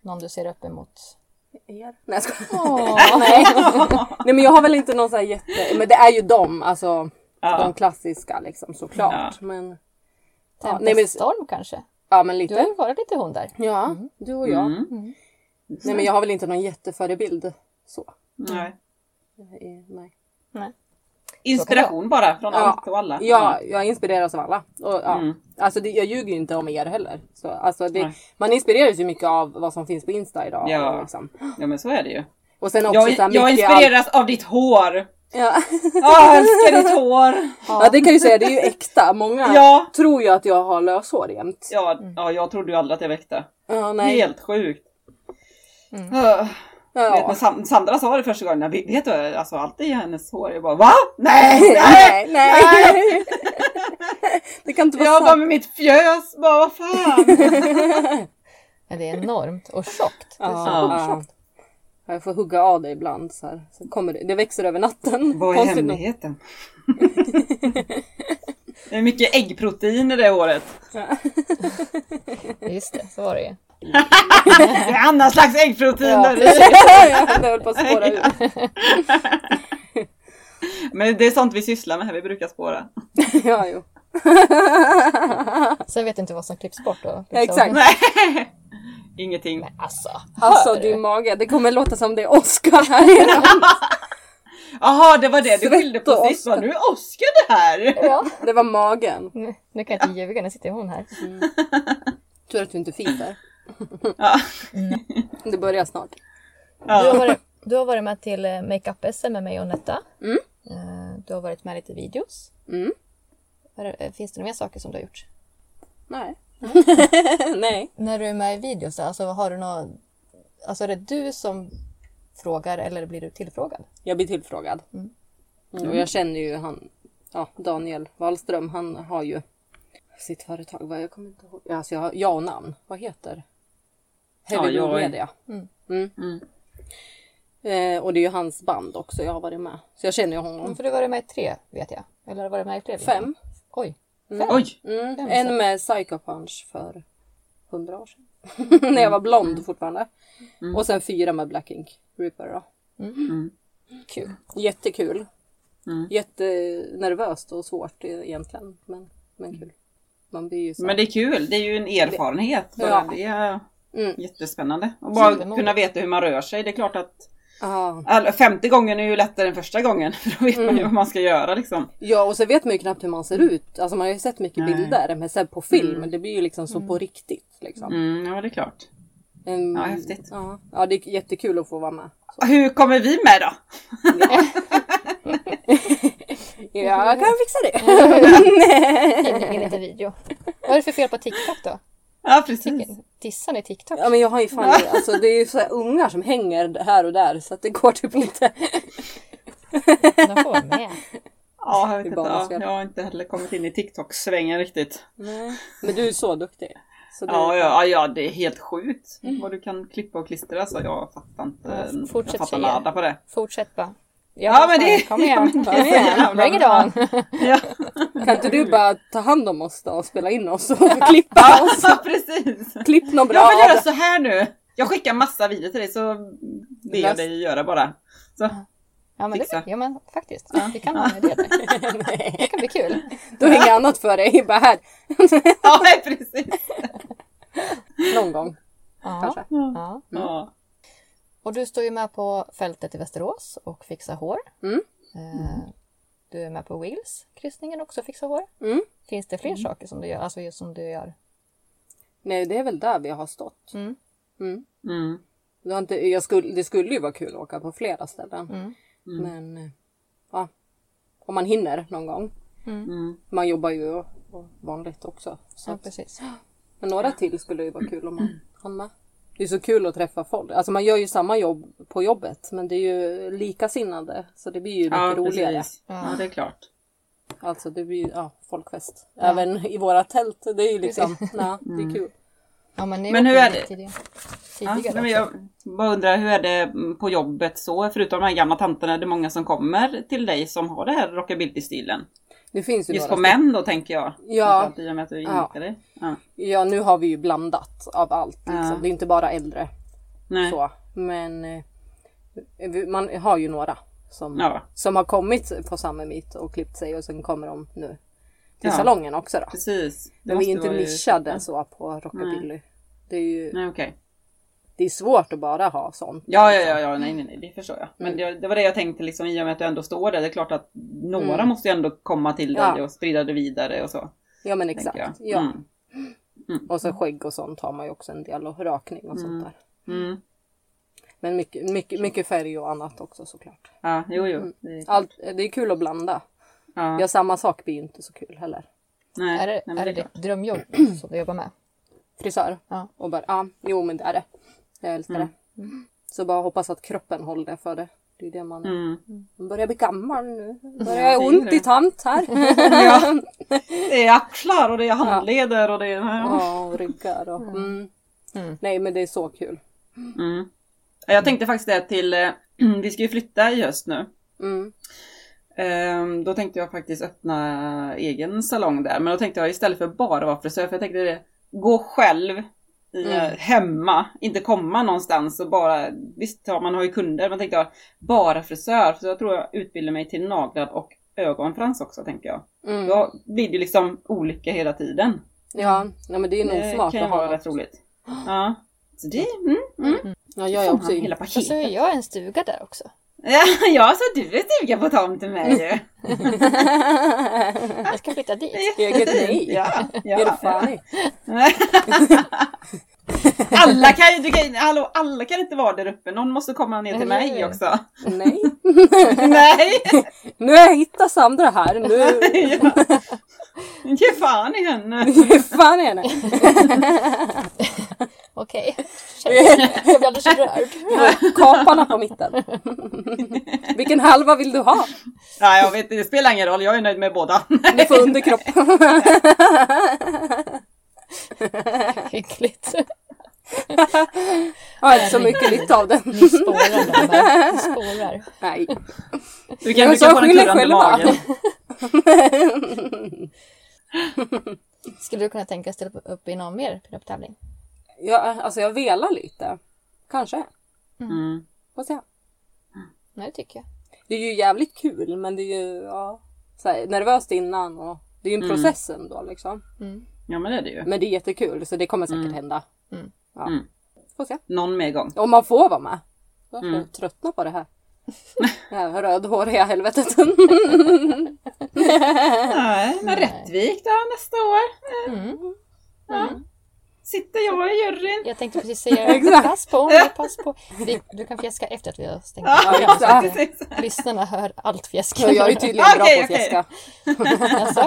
S2: Någon du ser upp emot?
S4: Nej, jag skojar.
S2: Åh,
S4: Nej. Nej men jag har väl inte någon sån här jätte... Men det är ju dem, alltså. De klassiska liksom såklart. Men, Ja, nej, men-
S2: Tempestorm kanske?
S4: ja men
S2: Du har
S4: lite.
S2: ju varit lite hon där.
S4: Ja, Mm. du och
S3: Mm.
S4: jag. Nej men jag har väl inte någon jätteförebild så.
S3: Nej.
S4: Eh, Nej.
S3: Inspiration bara från allt och alla.
S4: Ja, jag inspireras av alla. Och, ja.
S3: Mm.
S4: Alltså det, jag ljuger ju inte om er heller. Så, alltså, det,
S3: Nej.
S4: man inspireras ju mycket av vad som finns på Insta idag.
S3: Ja.
S4: Liksom.
S3: ja, men så är det ju.
S4: Och sen också så här
S3: Jag, jag
S4: mycket
S3: inspireras av ditt hår.
S4: All... Ja.
S3: Ja, jag älskar ditt hår.
S4: ja det kan jag ju säga, det är ju äkta. Många
S3: Ja.
S4: tror ju att jag har löshår jämt.
S3: Ja, ja jag trodde ju aldrig att jag väckte.
S4: Ja, nej.
S3: Helt sjukt. Öh, Vet,
S4: Mm. Ja.
S3: när Sam- Sandra sa det första gången, jag vet du, alltså allt i hennes hår. Jag bara va? Nej! nej!
S4: Nej, nej. Det kan inte vara
S3: Jag bara
S4: sant.
S3: med mitt fjös, bara vad fan.
S2: Ja, det är enormt och tjockt. Det är så
S4: Ja.
S2: oerhört tjockt.
S4: Ja, Jag får hugga av det ibland. Så här. Så kommer det. det växer över natten.
S3: Vad är
S4: Konstigt nog.
S3: hemligheten? det är mycket äggprotein i det håret.
S2: Just det, så var det ju.
S3: Det är annan slags äggprotein
S2: Ja.
S3: där i.
S4: Jag höll på att spåra ur.
S3: Men det är sånt vi sysslar med här, vi brukar spåra.
S4: Ja, jo.
S2: Sen vet jag inte vad som klipps bort då. Liksom.
S4: Exakt.
S3: Nej. Ingenting.
S2: Men alltså,
S4: Alltså
S2: hör du?
S4: din mage, det kommer låta som det är Oscar här inne.
S3: Jaha, det var det du
S4: Svett
S3: skyllde på
S4: och
S3: sist. Bara, nu är Oskar det här!
S2: Ja.
S4: Det var magen.
S2: Nu, nu kan jag inte ljuga, nu sitter hon här.
S4: Tur att du inte fiber.
S3: Ja.
S4: Det börjar snart.
S2: Du, har
S3: Ja.
S2: varit, du har varit med till eh, makeup-SM med mig och Netta.
S4: Mm.
S2: Eh, Du har varit med i lite videos.
S4: Mm.
S2: Vad är det- Finns det några mer saker som du har gjort?
S4: Nej. Nej.
S2: När du är med i videos, alltså, har du någon... alltså är det du som frågar eller blir du tillfrågad?
S4: Jag blir tillfrågad. Mm, Och jag känner ju han, ja, Daniel Wahlström, han har ju sitt företag, vad jag kommer inte ihåg. Ja, Alltså jag har ja och namn, vad heter? Heavy
S3: Ja,
S4: Blue
S3: jag-
S4: Media. Mm. Eh, och det är ju hans band också, jag har varit med. Så jag känner ju
S3: Mm.
S4: honom.
S2: För du har varit med i tre, vet jag. Eller har du varit med i fler? videos?
S4: Fem.
S2: Oj.
S3: Oj!
S4: Mm.
S2: Fem,
S4: En
S2: så.
S4: med Psycho Punch för hundra år sedan. När jag
S3: Mm.
S4: var blond fortfarande. Och sen fyra med Black Ink Reaper då.
S2: Kul.
S4: Jättekul.
S3: Mm.
S4: Jättenervöst och svårt e- egentligen. Men, men kul. Man blir ju så.
S3: Men det är kul, det är ju en erfarenhet. Bara.
S4: Ja.
S3: Det är
S4: Mm.
S3: jättespännande. Och bara
S2: Supermodigt.
S3: kunna veta hur man rör sig. Det är klart att
S4: Ja.
S3: all, femte gången är ju lättare än första gången. För då vet man
S4: Mm.
S3: ju vad man ska göra liksom.
S4: ja, och så vet man ju knappt hur man ser ut. Alltså man har ju sett mycket
S3: Nej.
S4: bilder, men sen på film, det blir ju liksom så på riktigt. Liksom.
S3: Mm, ja, det är klart.
S4: Ehm,
S3: Mm. Ja, häftigt.
S4: Ja. ja, det är jättekul att få vara med.
S3: Hur kommer vi med då?
S4: Ja, jag kan fixa det.
S2: In, in lite video. Vad är det för fel på TikTok då?
S3: Ja, precis.
S2: Dissar ni TikTok?
S4: Ja men jag har ju fan alltså det är ju så här ungar som hänger här och där så att det går typ inte.
S2: De får vara med.
S3: Ja, jag vet inte.
S4: Det är
S3: Ja,
S4: barnens fel.
S3: jag har inte heller kommit in i TikTok-svängen riktigt.
S4: Men du är så duktig. Så det,
S3: Ja, ja, ja, det är helt sjukt vad du kan klippa och klistra. Så jag fattar inte.
S2: Ja, fortsätt,
S3: jag fattar
S2: tjejer.
S3: nada på det.
S2: Fortsätt bara.
S3: Ja, men det-
S2: Kom igen.
S3: ja,
S2: Kom
S3: men det är så
S2: igen.
S3: jävla
S2: Bring it
S3: bra.
S2: on.
S3: Ja,
S4: Kan inte du bara ta hand om oss då och spela in oss och klippa oss?
S3: alltså, precis.
S4: Klipp någon bra
S3: Jag vill göra så här nu. Jag skickar massa videor till dig så ber jag
S4: Löst.
S3: dig göra bara. Så.
S2: Ja men,
S3: Fixa.
S2: det, ja, men faktiskt. Vi kan ha en idé där. Det kan bli kul.
S4: Då är inget annat för dig. Bara här.
S3: Ja, nej, precis.
S4: Någon gång.
S2: Ja.
S4: Kanske.
S2: ja.
S3: Ja.
S2: Och du står ju med på fältet i Västerås och fixar hår.
S4: Mm.
S2: Eh, Du är med på Wheels, kryssningen också och fixar hår.
S4: Mm.
S2: Finns det fler saker som du gör? Alltså just som du gör?
S4: Nej det är väl där vi har stått.
S2: Mm.
S4: Mm.
S3: Mm.
S4: Det, har inte, jag skulle, det skulle ju vara kul att åka på flera ställen.
S2: Mm.
S4: Men eh, ja, om man hinner någon gång.
S3: Mm.
S4: Man jobbar ju och, och vanligt också. Så
S2: Ja,
S4: att-
S2: precis.
S4: Men några till skulle ju vara kul om man hann med. Det är så kul att träffa folk. Alltså man gör ju samma jobb på jobbet men det är ju likasinnade så det blir ju mycket
S3: Ja,
S4: roligare.
S3: precis. Ja, det är klart.
S4: Alltså det blir ju ja, folkfest. Även i våra tält. Det är ju liksom,
S3: Mm.
S4: ja, det är kul.
S2: Ja, men, ni
S3: Men
S2: åkte
S3: hur är
S2: ju
S3: det?
S2: Tidigare,
S3: Ja,
S2: tidigare
S3: men
S2: också.
S3: jag bara undrar, hur är det på jobbet så? Förutom de här gamla tanterna, är det många som kommer till dig som har det här rockabilly-stilen?
S4: Det finns ju
S3: Just på
S4: några.
S3: män då tänker jag.
S4: Ja.
S3: Att I och med att du
S4: Ja.
S3: inriktar dig. Ja.
S4: Ja nu har vi ju blandat av allt. Liksom.
S3: Ja.
S4: Det är inte bara äldre.
S3: Nej.
S4: Så. Men eh, vi- man har ju några som,
S3: Ja.
S4: som har kommit på samma meet och klippt sig och sen kommer de nu till
S3: Ja.
S4: salongen också då.
S3: Precis. Det
S4: Men vi
S3: måste
S4: är inte
S3: vara ju-
S4: nischade så på rockabilly. Det är ju
S3: Nej okej.
S4: det är svårt att bara ha sånt.
S3: Ja, ja, ja, ja, nej, nej, nej, det förstår jag.
S4: Mm.
S3: Men det, det var det jag tänkte liksom i och med att du ändå står där. Det är klart att några måste ju ändå komma till dig
S4: Mm. Ja.
S3: och sprida det vidare och så.
S4: Ja men
S3: tänker
S4: exakt.
S3: jag.
S4: Ja.
S3: Mm.
S4: Och så skägg och sånt har man ju också en del och rakning och sånt där.
S3: Mm.
S4: Men mycket, mycket, mycket färg och annat också såklart.
S3: Ja, jo, jo. Det,
S4: Mm. Allt, det är kul att blanda.
S3: ja.
S4: Ja samma sak blir ju inte så kul heller.
S3: nej,
S2: Är det,
S3: nej, men
S2: är det
S3: klart.
S2: ditt drömjobb som du jobbar med?
S4: Frisör
S2: Ja.
S3: Mm.
S4: och bara ja, jo men det är det. Jag älskar det. Så bara hoppas att kroppen håller för det. Det är det man...
S3: Mm.
S4: man börjar bli gammal nu.
S3: Ja,
S4: Börjar
S3: det
S4: jag
S3: är
S4: ont
S3: det.
S4: i tant här.
S3: Ja. Det är axlar och det är handleder och det är...
S4: Ja, och ryggar och... Mm.
S2: Mm.
S4: Nej men det är så kul.
S3: Mm. Jag tänkte faktiskt det till, eh, vi ska ju flytta i höst nu.
S4: Mm.
S3: Ehm, Då tänkte jag faktiskt öppna egen salong där. Men då tänkte jag istället för bara vara frisör, för jag tänkte det, gå själv i, eh,
S4: Mm.
S3: hemma, inte komma någonstans och bara, visst ja, man har ju kunder, men tänkte jag bara frisör. Så jag tror jag utbildar mig till naglad och ögonfrans också tänker jag.
S4: Mm. Ja,
S3: Då blir det ju liksom olika hela tiden.
S4: nej, men det är nog smart
S3: kan
S4: att
S3: ju vara
S4: ha.
S3: rätt roligt. Ja. Så det, mm,
S4: Ja, jag är
S3: fan,
S4: också
S3: hela
S2: Och Alltså, så
S3: paketet.
S2: är jag en stuga där också.
S3: Ja, ja, så du är stuga på tomten med ju.
S2: Jag ska flytta dit.
S4: Eget nej.
S3: Ja,
S4: Är du
S3: ja.
S4: fan i?
S3: Alla kan ju, du kan, ju- hallå, alla kan inte vara där uppe. Någon måste komma ner till
S2: Nej.
S3: mig också.
S4: Nej.
S3: Nej!
S4: Nu har jag hittat Sandra här. Nu
S3: Ja. Ge fan i henne.
S4: Hur fan är det?
S2: Okej. Jag blir alldeles rörd.
S4: Kaparna på mitten. Vilken halva vill du ha?
S3: Nej, jag vet inte, det spelar ingen roll. Jag är nöjd med båda.
S4: Du får underkropp.
S2: Hyggligt.
S4: Jag har inte så mycket nytta av den.
S2: Ni spårar grabbar. Ni spårar.
S4: Nej.
S3: Du
S4: Ja,
S3: kan, du
S4: så
S3: kan få den
S4: skyll er
S3: kurrande
S4: själva.
S3: magen.
S2: Skulle du kunna tänka dig att ställa upp i någon mer pinup-tävling?
S4: Jag, alltså jag velar lite. Kanske.
S3: Mm.
S4: Får se.
S2: Nej, det tycker jag.
S4: Det är ju jävligt kul men det är ju ja, så här, nervöst innan och det är ju en
S3: Mm.
S4: process ändå liksom.
S3: Ja, men det är det ju.
S4: Men det är jättekul så det kommer säkert hända.
S2: Mm.
S4: Ja.
S3: Mm.
S4: Får se.
S3: Någon mer gång.
S4: Om man får vara med. Jag
S3: Mm.
S4: tröttnar på det här. Det här rödhåriga helvetet.
S3: Nej, men Rättvik då nästa år. Eh,
S2: Mm.
S3: Sitter jag i juryn.
S2: Jag tänkte precis säga
S4: Exakt.
S2: pass på mig, pass på. Vi, du kan fjäska efter att vi har stängt
S3: Ja,
S2: av. Så att, eh,
S3: precis.
S2: Lyssnarna hör allt fjäsk.
S4: Ja, jag är tydligen bra
S3: Okej,
S4: på att
S3: okej.
S4: fjäska.
S2: Alltså.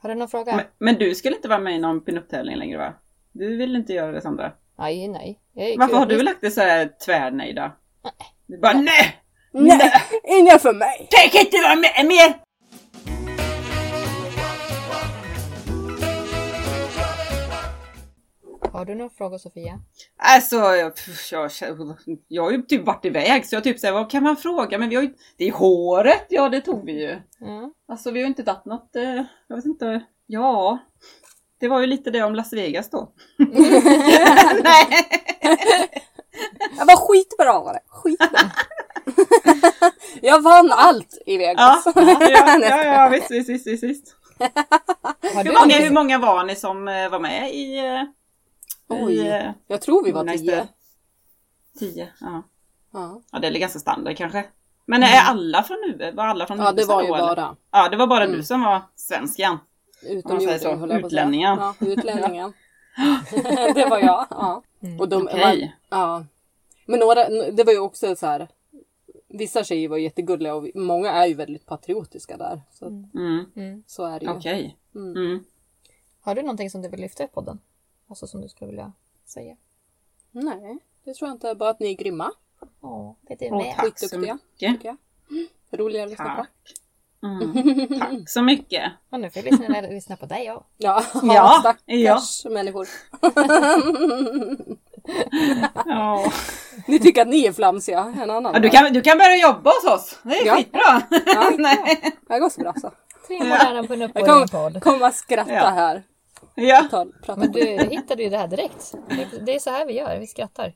S2: Har du någon fråga?
S3: Men, men du skulle inte vara med i någon pinup-tävling längre va? Du vill inte göra det Sandra?
S2: Nej, nej. Jag är
S3: Varför har
S2: kul.
S3: du lagt det så här tvärnej då? Du bara nej!
S4: Nej, inga för mig!
S3: Jag kan inte vara med mer!
S2: Har du någon fråga Sofia?
S3: Alltså, jag, pff, jag, jag har ju typ varit iväg så jag typ säger vad kan man fråga? Men vi har ju, det är håret, ja det tog vi ju.
S2: Mm.
S3: Alltså vi har ju inte tagit något, eh, jag vet inte, ja. Det var ju lite det om Las Vegas då. nej!
S4: Jag var skitbra var det. Skitbra. jag vann allt i
S3: Ja,
S4: Vegas.
S3: ja, ja, ja visst, visst, visst, visst, visst.
S2: Har
S3: Hur
S2: du
S3: många, hur
S2: någon-
S3: många var ni som eh, var med i... eh,
S4: Oj.
S3: i eh,
S4: Jag tror vi var
S3: Nästa.
S4: tio.
S3: tio? Ja.
S4: Ja,
S3: ja, det är ganska standard kanske. Men är alla från UB? Var alla från
S4: Mm. ja det
S3: USA
S4: var ju
S3: då, eller?
S4: bara Mm.
S3: Ja, det var bara du som var svenskan. Om man säger så,
S4: utomjordingen höll jag på att säga.
S3: utlänningen.
S4: Ja, utlänningen. det var jag. Ja. Och
S3: Mm.
S4: de,
S3: Okej.
S4: man- ja. Men några, det var ju också så här. Vissa tjejer var jättegulliga och många är ju väldigt patriotiska där. Så,
S3: Mm,
S4: så är det ju.
S3: Okej.
S4: Mm.
S3: Mm.
S2: Har du någonting som du vill lyfta i podden? Alltså som du skulle vilja säga?
S4: Nej, det tror jag inte. Bara att ni är grymma.
S2: Åh, det är
S3: Åh,
S2: med.
S3: tack så
S4: Skitduktiga.
S3: mycket.
S4: tycker jag. Roliga att lyssna på.
S3: Tack. Mm. Tack så mycket.
S2: Och nu får jag lyssna, lyssna på dig ja.
S4: Ja,
S3: Ja,
S4: stackars
S3: ja.
S4: människor.
S3: Ja.
S4: Ni tycker att ni är flamsiga, en annan.
S3: Ja, du, kan, du kan börja jobba hos oss. Det är
S4: Ja.
S3: skitbra.
S4: Ja.
S3: Nej.
S4: Det går så bra så.
S2: Tre moderna på en
S4: Jag kommer
S2: uppvärmningspodd.
S4: komma och skratta
S3: Ja.
S4: här.
S3: Ja.
S4: Ta, prata
S2: Men
S4: skit.
S2: du hittade ju det här direkt. Det- Det är så här vi gör, vi skrattar.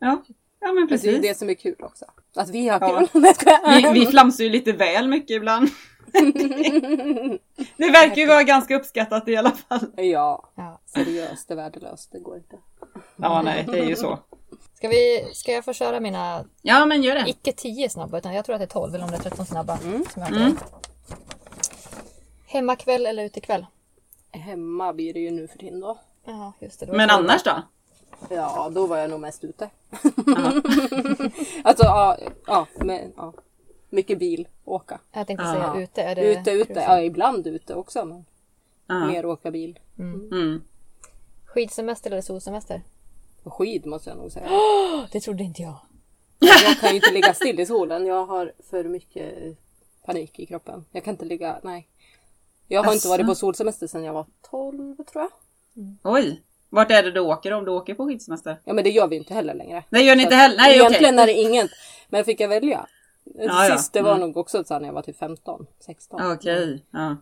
S3: ja. Ja men
S4: Det är ju
S3: precis.
S4: det som är kul också. Att vi har
S3: Ja.
S4: kul. Nej, skojar.
S3: Vi, vi flamsar ju lite väl mycket ibland. Det verkar ju vara ganska uppskattat i alla fall.
S4: Ja,
S2: Ja.
S4: seriöst, det är värdelöst. Det går inte.
S3: Ja nej, det är ju så.
S2: Ska, vi, ska jag få köra mina,
S3: Ja men gör det.
S2: icke 10 snabba, utan jag tror att det är 12 eller om det är 13 snabba.
S3: Mm.
S2: Som jag har kvar. Hemmakväll eller utekväll?
S4: Hemma blir det ju nu för tiden då.
S2: Ja, just det. det var
S3: Men
S2: så.
S3: annars då?
S4: Ja, då var jag nog mest ute. alltså, ja, ja, men, ja. Mycket bil, åka.
S2: Jag tänkte
S3: Ja.
S2: säga ute. Är det
S4: Ute, ute. Ja, ibland ute också. Men
S3: Ja.
S4: mer åka bil.
S3: Mm.
S2: Skidsemester eller solsemester?
S4: på skid måste jag nog säga.
S2: Det trodde inte jag.
S4: Jag kan ju inte ligga still i solen. Jag har för mycket panik i kroppen. Jag kan inte ligga, nej. Jag har
S3: Asså.
S4: inte varit på solsemester sedan jag var 12 tror jag.
S3: Oj! Vart är det du åker om du åker på skidsemester?
S4: Ja men det gör vi ju inte heller längre.
S3: Nej gör ni inte heller? Nej okej.
S4: Egentligen är det inget. Men fick jag välja?
S3: Ja, ja.
S4: Sist det var
S3: Mm.
S4: nog också så här när jag var typ 15, 16.
S3: Okej. Ja.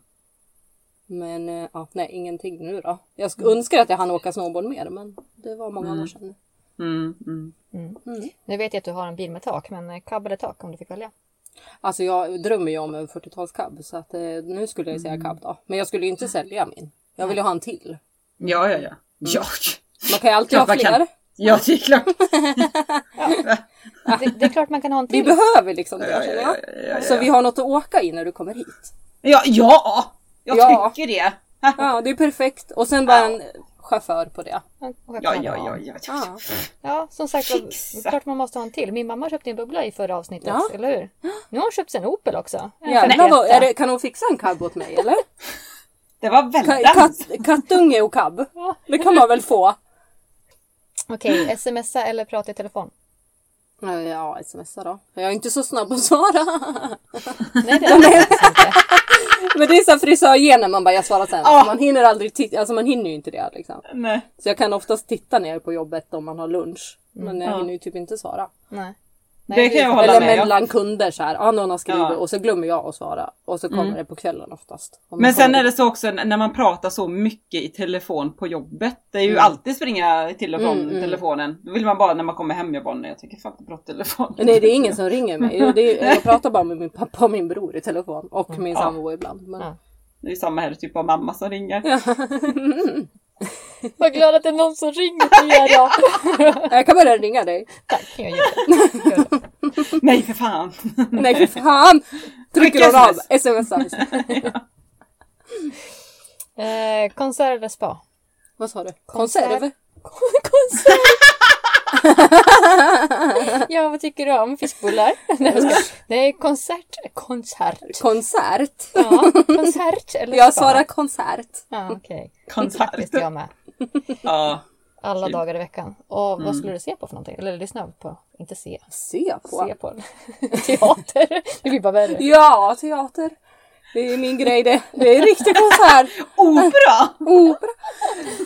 S4: Men eh, ja, nej ingenting nu då. Jag sk- önskar att jag hann åka snowboard mer men det var många år sedan.
S3: Mm, mm.
S2: Nu vet jag att du har en bil med tak, men eh, cab eller tak om du fick välja?
S4: Alltså jag drömmer ju om en 40-talskab så att eh, nu skulle jag
S3: Mm.
S4: säga cab då. Men jag skulle ju inte sälja min. Jag vill ju ha en till.
S3: ja, ja, ja. Ja,
S4: Man kan ju alltid
S3: Klart
S4: ha
S3: man kan.
S4: Mm. fler.
S3: ja det är klart.
S2: Det, det är klart man kan ha en
S4: Ah. Vi
S2: till.
S4: behöver liksom det
S3: Ja, ja,
S4: känner
S3: ja,
S4: jag.
S3: ja, ja,
S4: Så
S3: ja.
S4: vi har något att åka i när du kommer hit.
S3: Ja, ja! Jag
S4: Ja.
S3: tycker det.
S4: Ja det är perfekt. Och sen bara en chaufför på det.
S2: Ja,
S3: Ja, ja, ja, ja. ja.
S4: Ja.
S2: Ja, som sagt var, det
S3: Fixa.
S2: är klart man måste ha en till. Min mamma köpte en bubbla i förra avsnittet,
S4: Ja.
S2: eller hur? Nu har hon köpt sig en Opel också. En
S4: Jävlar
S2: 51.
S4: vad, är det, kan hon fixa en cab åt mig eller?
S3: Det var
S4: Ka-
S3: väldigt...
S4: katt, kattunge och cab. Det kan man väl få?
S2: Okej, smsa eller prata i telefon?
S4: Eh, Ja, smsa då. Jag är inte så snabb att svara.
S2: Nej, det är det faktiskt inte.
S4: Men det är så här frisörgenen, man bara jag svarar sen.
S3: Ja.
S4: Man hinner aldrig titta, alltså man hinner ju inte det liksom.
S3: Nej.
S4: Så jag kan oftast titta ner på jobbet om man har lunch.
S3: Mm.
S4: Men jag hinner ju typ inte svara.
S2: Nej.
S3: Det kan jag hålla
S4: Eller
S3: med om.
S4: mellan kunder så här. Ja, någon har skrivit
S3: Ja. Mm.
S4: och så glömmer jag att svara. Och så kommer det på kvällen oftast. Om
S3: Men
S4: jag
S3: sen
S4: kommer-
S3: är det så också när man pratar så mycket i telefon på jobbet. Det är
S4: Mm.
S3: ju alltid springa till och från telefonen. Då vill man bara när man kommer hem, jag bara nej jag tycker fan inte prata telefon.
S4: Nej, det är ingen som ringer mig. Det är, jag pratar bara med min pappa och min bror i telefon. Och min
S3: Ja.
S4: sambo ibland. Men...
S2: Ja.
S3: Det är ju samma här, typ av mamma som ringer.
S2: Vad glad att det är någon som ringer till er då.
S4: Jag kan börja ringa dig.
S2: Tack, jag gör det. Gör det.
S3: Nej för fan!
S4: Nej för fan! Trycker
S3: Mycket
S4: hon av? Smsar.
S2: Eh, konsert eller spa?
S4: Vad sa du?
S2: Konserv.
S4: Konserv?
S2: konsert! ja, vad tycker du om fiskbullar? Nej, jag skojar. Nej, konsert. Konsert.
S4: Koncert?
S2: Ja, konsert eller
S4: Jag
S2: spa?
S4: svarar koncert.
S2: Ja, okej.
S3: Konsert.
S2: Faktiskt jag med.
S3: Ja.
S2: Alla dagar i veckan. Och vad skulle du se på för någonting? Eller lyssna på? Inte se.
S4: Se
S2: Se
S4: på.
S2: på. Teater. Det blir bara värre.
S4: Ja, teater. Det är min grej det. Det är riktig konsert.
S3: Opera!
S4: Opera.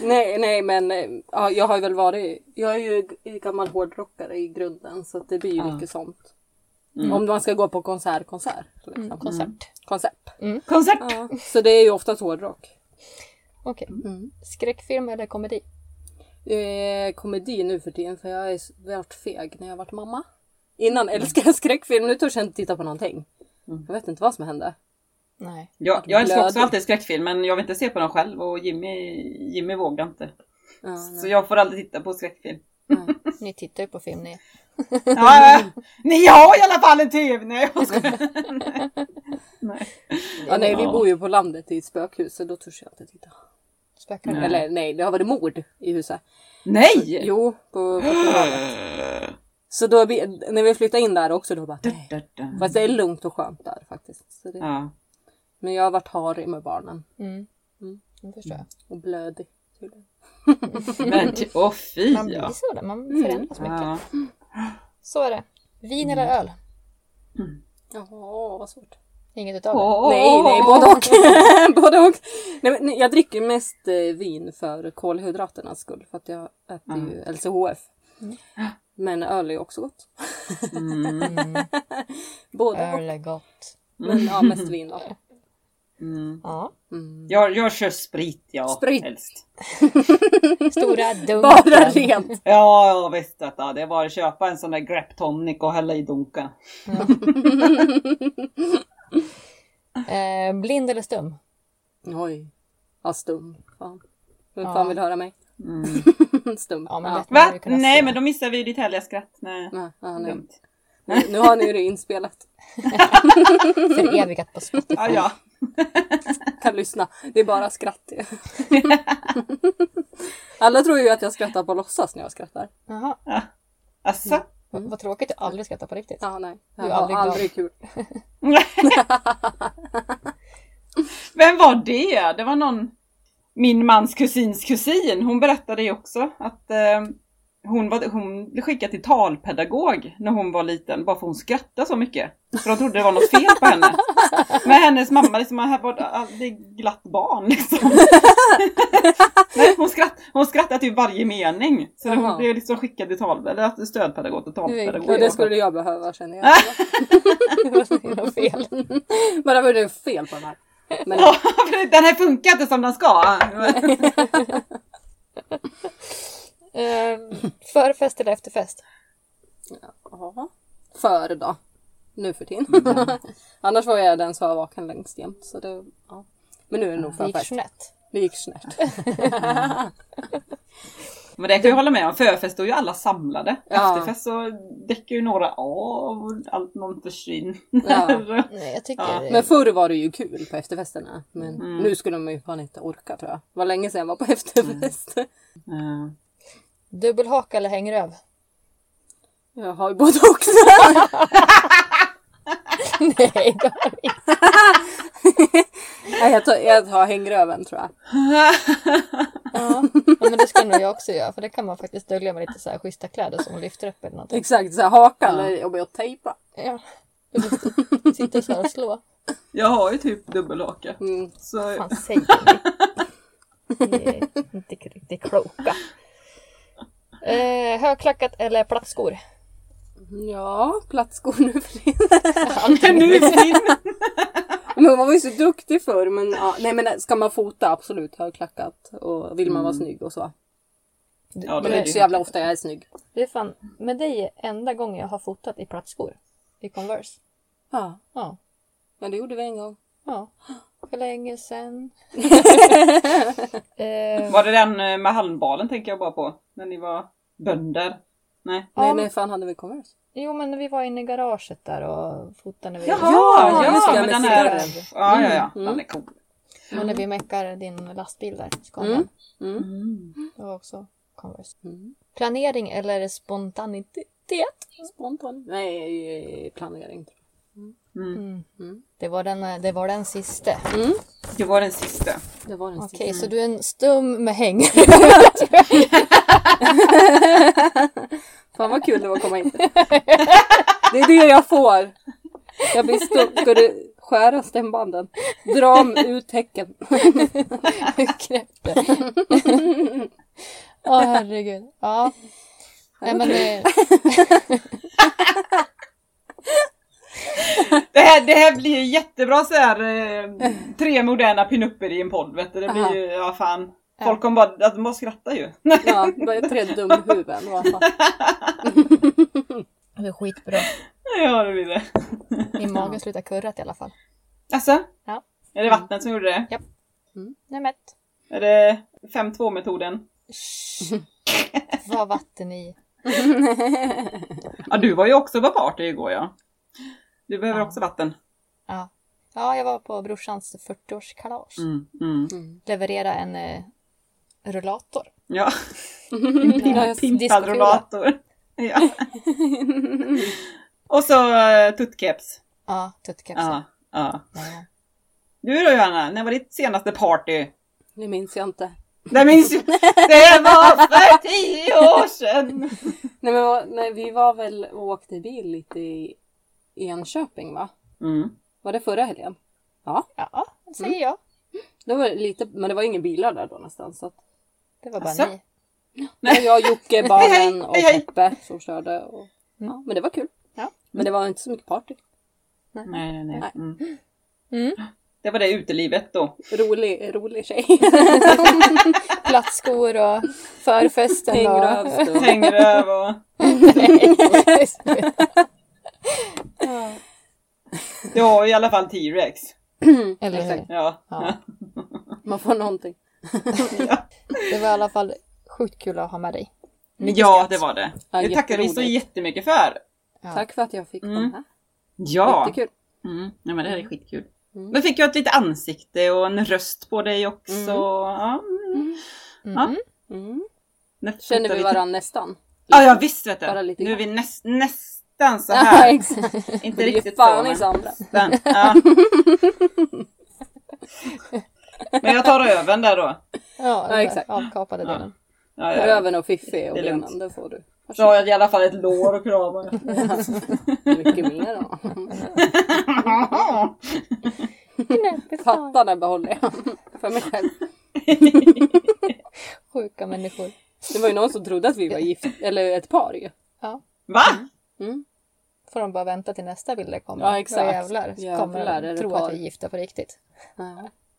S4: Nej, nej men eh, ja, jag har ju väl varit. Jag är ju g- gammal hårdrockare i grunden så att det blir ju mycket sånt. Om man ska gå på konsert, Mm. konsert. Liksom.
S2: Konsert.
S4: Konsert.
S3: Konsert!
S4: Ja, så det är ju oftast hårdrock.
S2: Okej. Skräckfilm eller komedi?
S4: eh, komedi nu för tiden för jag har s- varit feg när jag varit mamma. Innan älskade jag skräckfilm, nu törs jag inte titta på någonting. Jag vet inte vad som hände.
S2: Nej.
S3: Jag, jag älskar också
S4: Blöd.
S3: alltid skräckfilm men jag vill inte se på dem själv och Jimmy, Jimmy vågar inte.
S4: Ja,
S3: Så jag får aldrig titta på skräckfilm.
S2: Ni tittar ju på film ni.
S3: Ja, ja. Ni har i alla fall en TV! Nej, jag skojar. Nej.
S4: ja, nej, vi
S3: Ja.
S4: bor ju på landet i ett spökhus så då törs jag inte titta.
S2: Spökar.
S3: Nej.
S4: Eller nej, det har varit mord i huset.
S3: Nej!
S4: Jo, på 1700-talet. Så då vi, när vi flyttade in där också då bara nej.
S3: Da, da.
S4: Fast det är lugnt och skönt där faktiskt. Så det,
S3: Ja.
S4: men jag har varit harig med barnen.
S2: Mm. Det förstår jag.
S4: Och blödig. tydligen.
S3: Men ty- åh fy
S2: Man blir
S3: Mm. ja.
S2: så där. Man förändras mycket.
S3: ja. Mm.
S2: Så är det. Vin eller öl?
S4: Jaha, vad svårt.
S2: Inget utav det.
S3: Åh,
S4: Nej, nej,
S3: åh,
S4: både
S3: åh.
S4: och. både och. Nej, men, nej, jag dricker mest eh, vin för kolhydraternas skull för att jag äter
S2: Mm.
S4: ju LCHF. Men öl är ju också gott.
S3: Mm,
S4: både och.
S2: Öl är gott.
S4: Men ja, mest vin då. Mm.
S2: Ja.
S3: mm. Jag, jag kör sprit ja.
S4: Sprit.
S3: Helst.
S2: Stora dunken.
S4: Bara rent.
S3: Ja, jag visste att ja, det var att köpa en sån där grep tonic och hälla i dunken.
S2: Eh, blind eller stum?
S4: Oj. Ja, stum. Fan. Vem
S2: Ja.
S4: fan vill höra mig? stum.
S2: Ja, men
S4: Ja.
S2: lätt Mm. man
S3: Va?
S2: hade kunnat
S3: Mm. Nej,
S2: se.
S3: men då missar vi ditt härliga skratt. Nej.
S4: Nej, ja, nej.
S3: Dumt.
S4: Nu, nu har ni ju det inspelat.
S2: Förevigat på Spotify.
S3: Ja, ja.
S4: Kan lyssna. Det är bara skratt. Alla tror ju att jag skrattar på låtsas när jag skrattar.
S2: Jaha.
S3: Alltså.
S2: Vad- Vad tråkigt att aldrig skratta på riktigt.
S4: Ja, nej.
S2: är
S4: Jag har
S2: aldrig glad.
S4: aldrig kul.
S3: Vem var det? Det var någon... Min mans kusins kusin. Hon berättade ju också att eh, hon, var, hon blev skickad till talpedagog när hon var liten, bara för hon skrattade så mycket. För de trodde det var något fel på henne. Men hennes mamma liksom, här var ett- det är glatt barn liksom. Nej, hon, skratt, hon skrattade till varje mening. Så
S4: Jaha.
S3: hon blev liksom skickad till tal, eller att stödpedagog till talpedagog.
S4: Ja, det skulle jag behöva känner jag.
S2: Det var så himla fel.
S4: Bara var det fel på den här. Men
S3: Ja, för den här funkar inte som den ska.
S2: Ehm, före fest eller efter fest?
S4: ja, före då. Nu för tiden. Annars var jag den som var vaken längst jämt. Så det, ja. Men nu är det nog
S2: Det
S4: för
S2: gick
S4: fest.
S2: snett.
S4: Det gick snett.
S3: Men det kan jag hålla med om. Förfest då är ju alla samlade.
S4: Ja.
S3: Efterfest så däcker ju några av och allt någon försvinner.
S4: Ja.
S2: Nej, jag tycker...
S3: Ja,
S4: Men förr var det ju kul på efterfesterna. Men
S2: Mm.
S4: nu skulle man ju fan inte orka tror jag. Det var länge sedan jag var på efterfest.
S3: Eh,
S2: Dubbelhaka eller hängröv?
S4: Jag har ju både och.
S2: Nej, då-
S4: Nej, jag, tar, jag tar hängröven tror jag.
S2: ja. ja, men det skulle nog jag också göra. För det kan man faktiskt dölja med lite så här schyssta kläder som lyfter upp eller någonting.
S4: Exakt, så här, hakan är jobbig att tejpa.
S2: Ja. Du måste sitta så här och slå.
S3: Jag har ju typ dubbelhaka.
S4: Mm.
S3: Så
S2: fan säger ni? Ni är inte riktigt kloka. Eh, högklackat eller plattskor?
S4: Ja, plattskor nu för tiden.
S3: nu är min.
S4: Men man var ju så duktig förr. Men, ja. Nej men ska man fota absolut högklackat. Och vill man vara snygg och så.
S3: Ja,
S4: Mm.
S3: det
S4: Men det är
S3: är
S4: inte
S3: det.
S4: så
S3: ju.
S4: jävla ofta jag är snygg.
S2: Det är fan med dig är enda gången jag har fotat i plattskor. I Converse.
S4: Ja,
S2: Ja.
S4: men det gjorde vi en gång.
S2: Ja. För länge sedan. eh,
S3: Var det den eh, med halmbalen tänker jag bara på? När ni var bönder? Nej.
S2: Ja.
S4: Nej, när fan hade vi Converse?
S2: jo men när vi var inne i garaget där och fotade när vi...
S3: Jaha!
S4: Ja,
S3: Ja,
S4: just det,
S3: men
S4: med Mm.
S3: den här.
S2: cigarren.
S3: Ja, ja, ja. Den är cool.
S2: Och när vi meckar din lastbil där. Scania.
S4: Mm. Mm.
S2: Det var också Converse.
S4: Mm.
S2: Planering eller spontanitet?
S4: Spontan. Nej, planering. tror
S2: Mm. Det, var den, det var den sista.
S3: Det var den sista.
S4: jag. Det var den
S2: Okej, så du är en stum med häng.
S4: Fan vad kul det var att komma hit. Det är det jag får. Jag blir stum. Ska du skära stämbanden? Dra om ut häcken.
S2: Knäppt det. Åh herregud. Ja. Nej men eh, det,
S3: Det här, det här blir ju jättebra så här eh, tre moderna pinupper i en podd vet du. Det blir ju, ja fan. Folk kommer bara, alltså, de bara skratta ju.
S4: Ja, bara tre dumhuvuden. Vad fan.
S2: det är skitbra.
S3: ja det blir det.
S2: Min mage slutar kurrat i alla fall.
S3: Alltså?
S2: Ja.
S3: Är det vattnet som gjorde det?
S2: Nej men
S3: Är det 5-2 metoden?
S2: vad vatten i.
S3: Ja du var ju också på party igår ja. Du behöver också vatten.
S2: Ja. ja, jag var på brorsans 40-årskalas.
S3: Mm, mm.
S2: Leverera en eh, rullator.
S3: Ja.
S2: Ja,
S3: Pimpalrollator. Ja. Och så eh, tuttkeps.
S2: Ja, tuttkepsen.
S3: Ja, ja.
S2: Ja.
S3: Du då Johanna, när var ditt senaste party?
S4: Det minns jag inte.
S3: Det minns ju. Det var för tio år sedan!
S4: Nej, men, vad- nej, vi var väl och åkte bil lite i Enköping va?
S3: Mm.
S4: Var det förra helgen? Ja,
S2: Ja, det säger
S4: Mm.
S2: jag.
S4: det var lite, men det var ingen bilar där då nästan. Så att
S2: Det var bara
S3: Asså?
S2: ni.
S4: Det var jag, Jocke, barnen och
S3: hej, hej.
S4: Peppe som körde. Och, ja, men det var kul.
S2: Ja.
S4: Men det var inte så mycket party.
S3: Nej, nej, nej.
S4: Nej.
S3: Mm.
S2: Mm.
S3: Det var det utelivet då.
S4: Rolig, rolig tjej.
S2: Plattskor och förfesten. och...
S4: Hängrövs
S3: Hängröv och... Ja, i alla fall T-Rex.
S2: Eller hur?
S3: Ja.
S2: Ja.
S4: Mm. Man får någonting.
S2: Det var i alla fall sjukt kul att ha med dig.
S3: ja, det var det.
S4: Ja,
S3: det tackar vi så
S4: jätteroligt.
S3: jättemycket för.
S2: Ja.
S4: Tack för att jag fick
S3: Mm.
S4: komma.
S3: Ja.
S4: Jättekul. Mm.
S3: Mm. ja, men det här är skitkul. Men fick jag ett litet ansikte och en röst på dig också. Ja. Mm. Ja.
S4: Mm.
S3: Nu
S4: Känner
S3: fotar
S4: vi varandra nästan?
S3: Ja, ja visst vet
S4: Bara
S3: du.
S4: lite
S3: Nu är
S4: grann.
S3: vi näst, nästan så
S4: Ja,
S3: här.
S4: exakt.
S3: Inte
S4: Det är
S3: riktigt
S4: fan
S3: så.
S4: i
S3: Men,
S4: Sandra.
S3: nästan. ja. men jag tar röven där då.
S2: Ja, den
S4: exakt.
S2: avkapade delen.
S3: Ja. Ja, ja, ja.
S4: Röven och Fiffi och
S3: Det är lugnt.
S4: benan, den får du.
S3: Så har jag i alla fall ett lår att krama.
S4: Mycket mer då. Pattarna behåller jag för mig själv.
S2: Sjuka människor.
S4: Det var ju någon som trodde att vi var gift, eller ett par ju.
S2: Ja.
S3: Va?
S2: Får de bara vänta till nästa bild kommer.
S4: Ja, exakt.
S2: Då jävlar, så
S4: Jävlar,
S2: kommer
S4: är
S2: de
S4: det
S2: tro
S4: par.
S2: att vi är gifta på riktigt.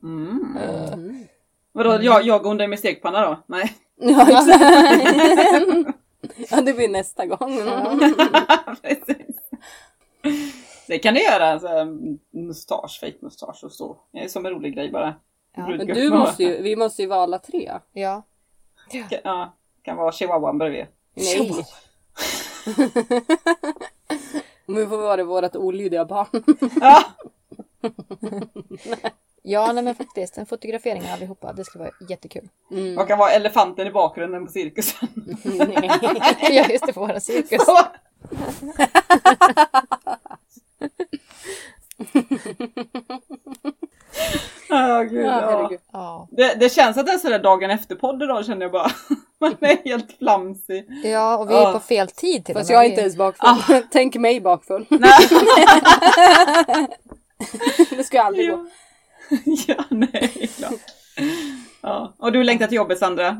S3: Mm. Vadå, jag, jag och hon är med stekpanna då? Nej,
S4: Ja, exakt. Ja, det blir nästa gång.
S3: precis. Det kan du göra, alltså, mustasch, fake mustasch och så. Det är som en rolig grej bara.
S2: Ja,
S4: Men
S3: Brudgumma.
S4: du måste ju, vi måste ju vara alla tre.
S2: Ja.
S3: Kan- Ja, kan vara chihuahuan bredvid.
S4: Nej. Men vi får vara vårat olydiga barn.
S3: Ja,
S2: Ja, nej men faktiskt. En fotografering av allihopa. Det skulle vara jättekul.
S3: man kan vara elefanten i bakgrunden på cirkusen.
S2: ja, just det, på våra cirkus.
S3: Ja, gud, ja.
S4: herregud.
S2: Ja.
S3: Det, det känns att det är sådär dagen efter-podd idag känner jag bara. Man är helt flamsig.
S2: ja, och vi är på fel tid till
S4: Fast
S2: och med.
S4: jag är
S2: Vi-
S4: inte ens bakfull.
S3: Ah.
S4: Tänk mig bakfull. det ska jag aldrig gå.
S3: Ja. ja, nej, klart. Ja. Och du längtar till jobbet Sandra?
S2: Eh,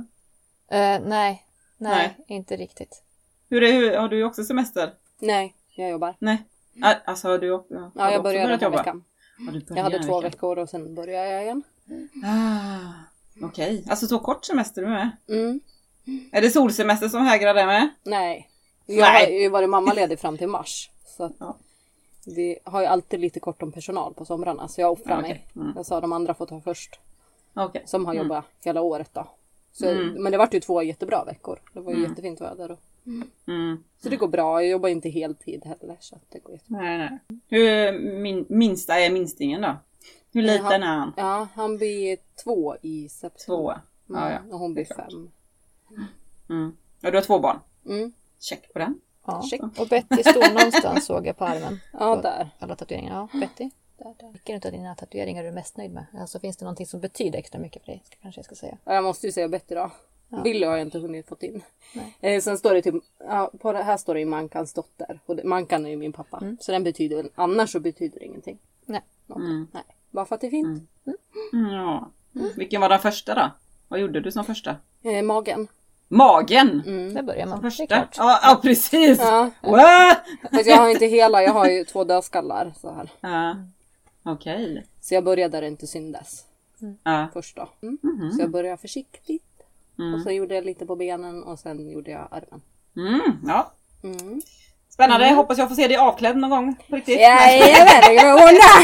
S2: nej, nej,
S3: Nej.
S2: inte riktigt.
S3: Hur är, hur, har du också semester?
S4: Nej, jag jobbar.
S3: Nej? Ah, Alltså har du också, har
S4: Ja,
S3: du
S4: jag
S3: också
S4: började den
S3: börjat
S4: här
S3: jobba?
S4: veckan.
S3: Ja, du började
S4: Jag hade
S3: den här
S4: två
S3: veckan.
S4: veckor och sen började jag igen.
S3: Ah, Okej, alltså så kort semester du är med?
S4: Mm.
S3: Är det solsemester som hägrar det med?
S4: Nej. Jag
S3: Nej.
S4: har ju varit mammaledig fram till mars. Så att
S3: Ja.
S4: Vi har ju alltid lite kort om personal på somrarna så jag offrar
S3: Ja, okej. Mm.
S4: mig. Jag sa de andra får ta först.
S3: Okej. Mm.
S4: Som har jobbat hela året då. Så, Men det vart ju två jättebra veckor. Det var ju jättefint väder. Och,
S3: Mm.
S4: så det går bra. Jag jobbar inte heltid heller. Så att det går jättebra.
S3: Nej, nej. Hur min, minsta är minstingen då? Hur liten är han?
S4: Ja, han blir två i september.
S3: Två. Ja, ja.
S4: Mm, Och hon blir
S3: det är klart.
S4: fem.
S3: Mm. Ja, du har två barn.
S4: Mm.
S3: Check på den.
S2: Ja.
S4: Check.
S2: Och Betty står någonstans såg jag på armen.
S4: Ja,
S2: På
S4: där.
S2: Alla tatueringar. Ja, Betty. Vilken utav dina tatueringar är du mest nöjd med? Alltså finns det någonting som betyder extra mycket för dig? Ska- Kanske jag ska säga.
S4: Ja, Jag måste ju säga bättre då. Billy har jag inte hunnit fått in. Eh, sen står det typ, ja, på det här står det ju Mankans dotter. Och det, Mankan är ju min pappa. Så den betyder väl, annars så betyder det ingenting.
S2: Nej.
S4: Någonting. Nej. Bara för att det är fint.
S3: Mm, Ja. Vilken var den första då? Vad gjorde du som första?
S4: Eh, magen.
S3: Magen!
S4: Mm,
S2: Där börjar man. Det
S3: Första?
S2: är klart.
S3: Ja, ja precis!
S4: Ja.
S3: Wow!
S4: Fast jag har inte hela, jag har ju två dödskallar så här.
S3: Ja. Okej.
S4: Så jag började där det inte syndes
S3: Ja.
S4: först då. Mm. Så jag började försiktigt. Och sen gjorde jag lite på benen och sen gjorde jag armen.
S3: Mm, ja.
S4: Mm.
S3: Spännande, hoppas jag får se dig avklädd någon gång på riktigt.
S4: Jajamän, det går undan!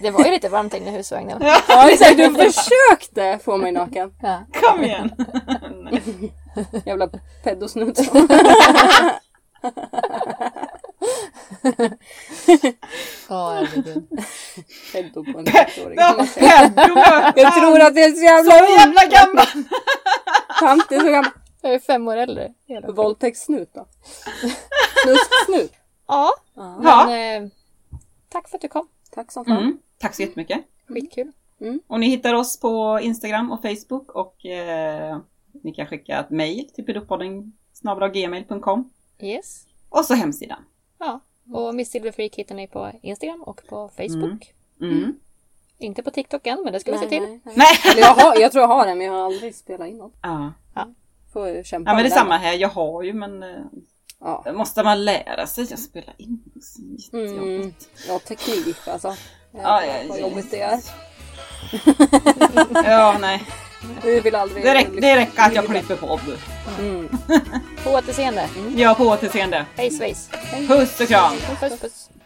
S2: Det var ju lite varmt inne i husvagnen.
S4: Ja, exakt, du försökte få mig naken.
S2: Ja.
S3: Kom igen! Nej.
S4: Jävla pedosnut.
S2: Ja, herregud.
S4: Pedo på en ettåring.
S3: Ja, Peddo möter
S4: Jag tror att det är så jävla
S3: Så
S4: ont.
S3: jävla gammal!
S4: Tant är så gammal.
S2: Jag är fem år äldre. Jävlar.
S4: Våldtäktssnut då? Snusksnut.
S2: Ja,
S3: Ja.
S2: men eh, tack för att du kom.
S4: Tack som fan.
S3: Mm, tack så jättemycket.
S2: Skitkul.
S3: Och ni hittar oss på Instagram och Facebook och eh, ni kan skicka ett mejl till pedopodden gmail.com
S2: Yes.
S3: och så hemsidan.
S2: Ja. Och Miss Silverfreak hittar ni på Instagram och på Facebook.
S3: Mm.
S2: Inte på TikTok än, men det ska vi se till.
S4: Nej, nej.
S3: Nej!
S4: Eller Jag, har, jag tror jag har den men jag har aldrig spelat in något.
S3: Ja.
S4: Får ju kämpa
S3: ja, men det
S4: med
S3: är
S4: den.
S3: samma här. Jag har ju men eh,
S4: Ja.
S3: måste man lära sig att spela in? Det är jättejobbigt.
S4: Mm. Ja, teknik alltså.
S3: Ja, ja,
S4: Vad
S3: ja.
S4: jobbigt det är.
S3: Ja, nej.
S4: Vi vill aldrig... Mm.
S3: Det, räck, det räcker att jag klipper på.
S2: På återseende.
S3: Ja, på återseende.
S2: Hej svejs.
S3: Puss och kram!
S2: Mm. Puss puss.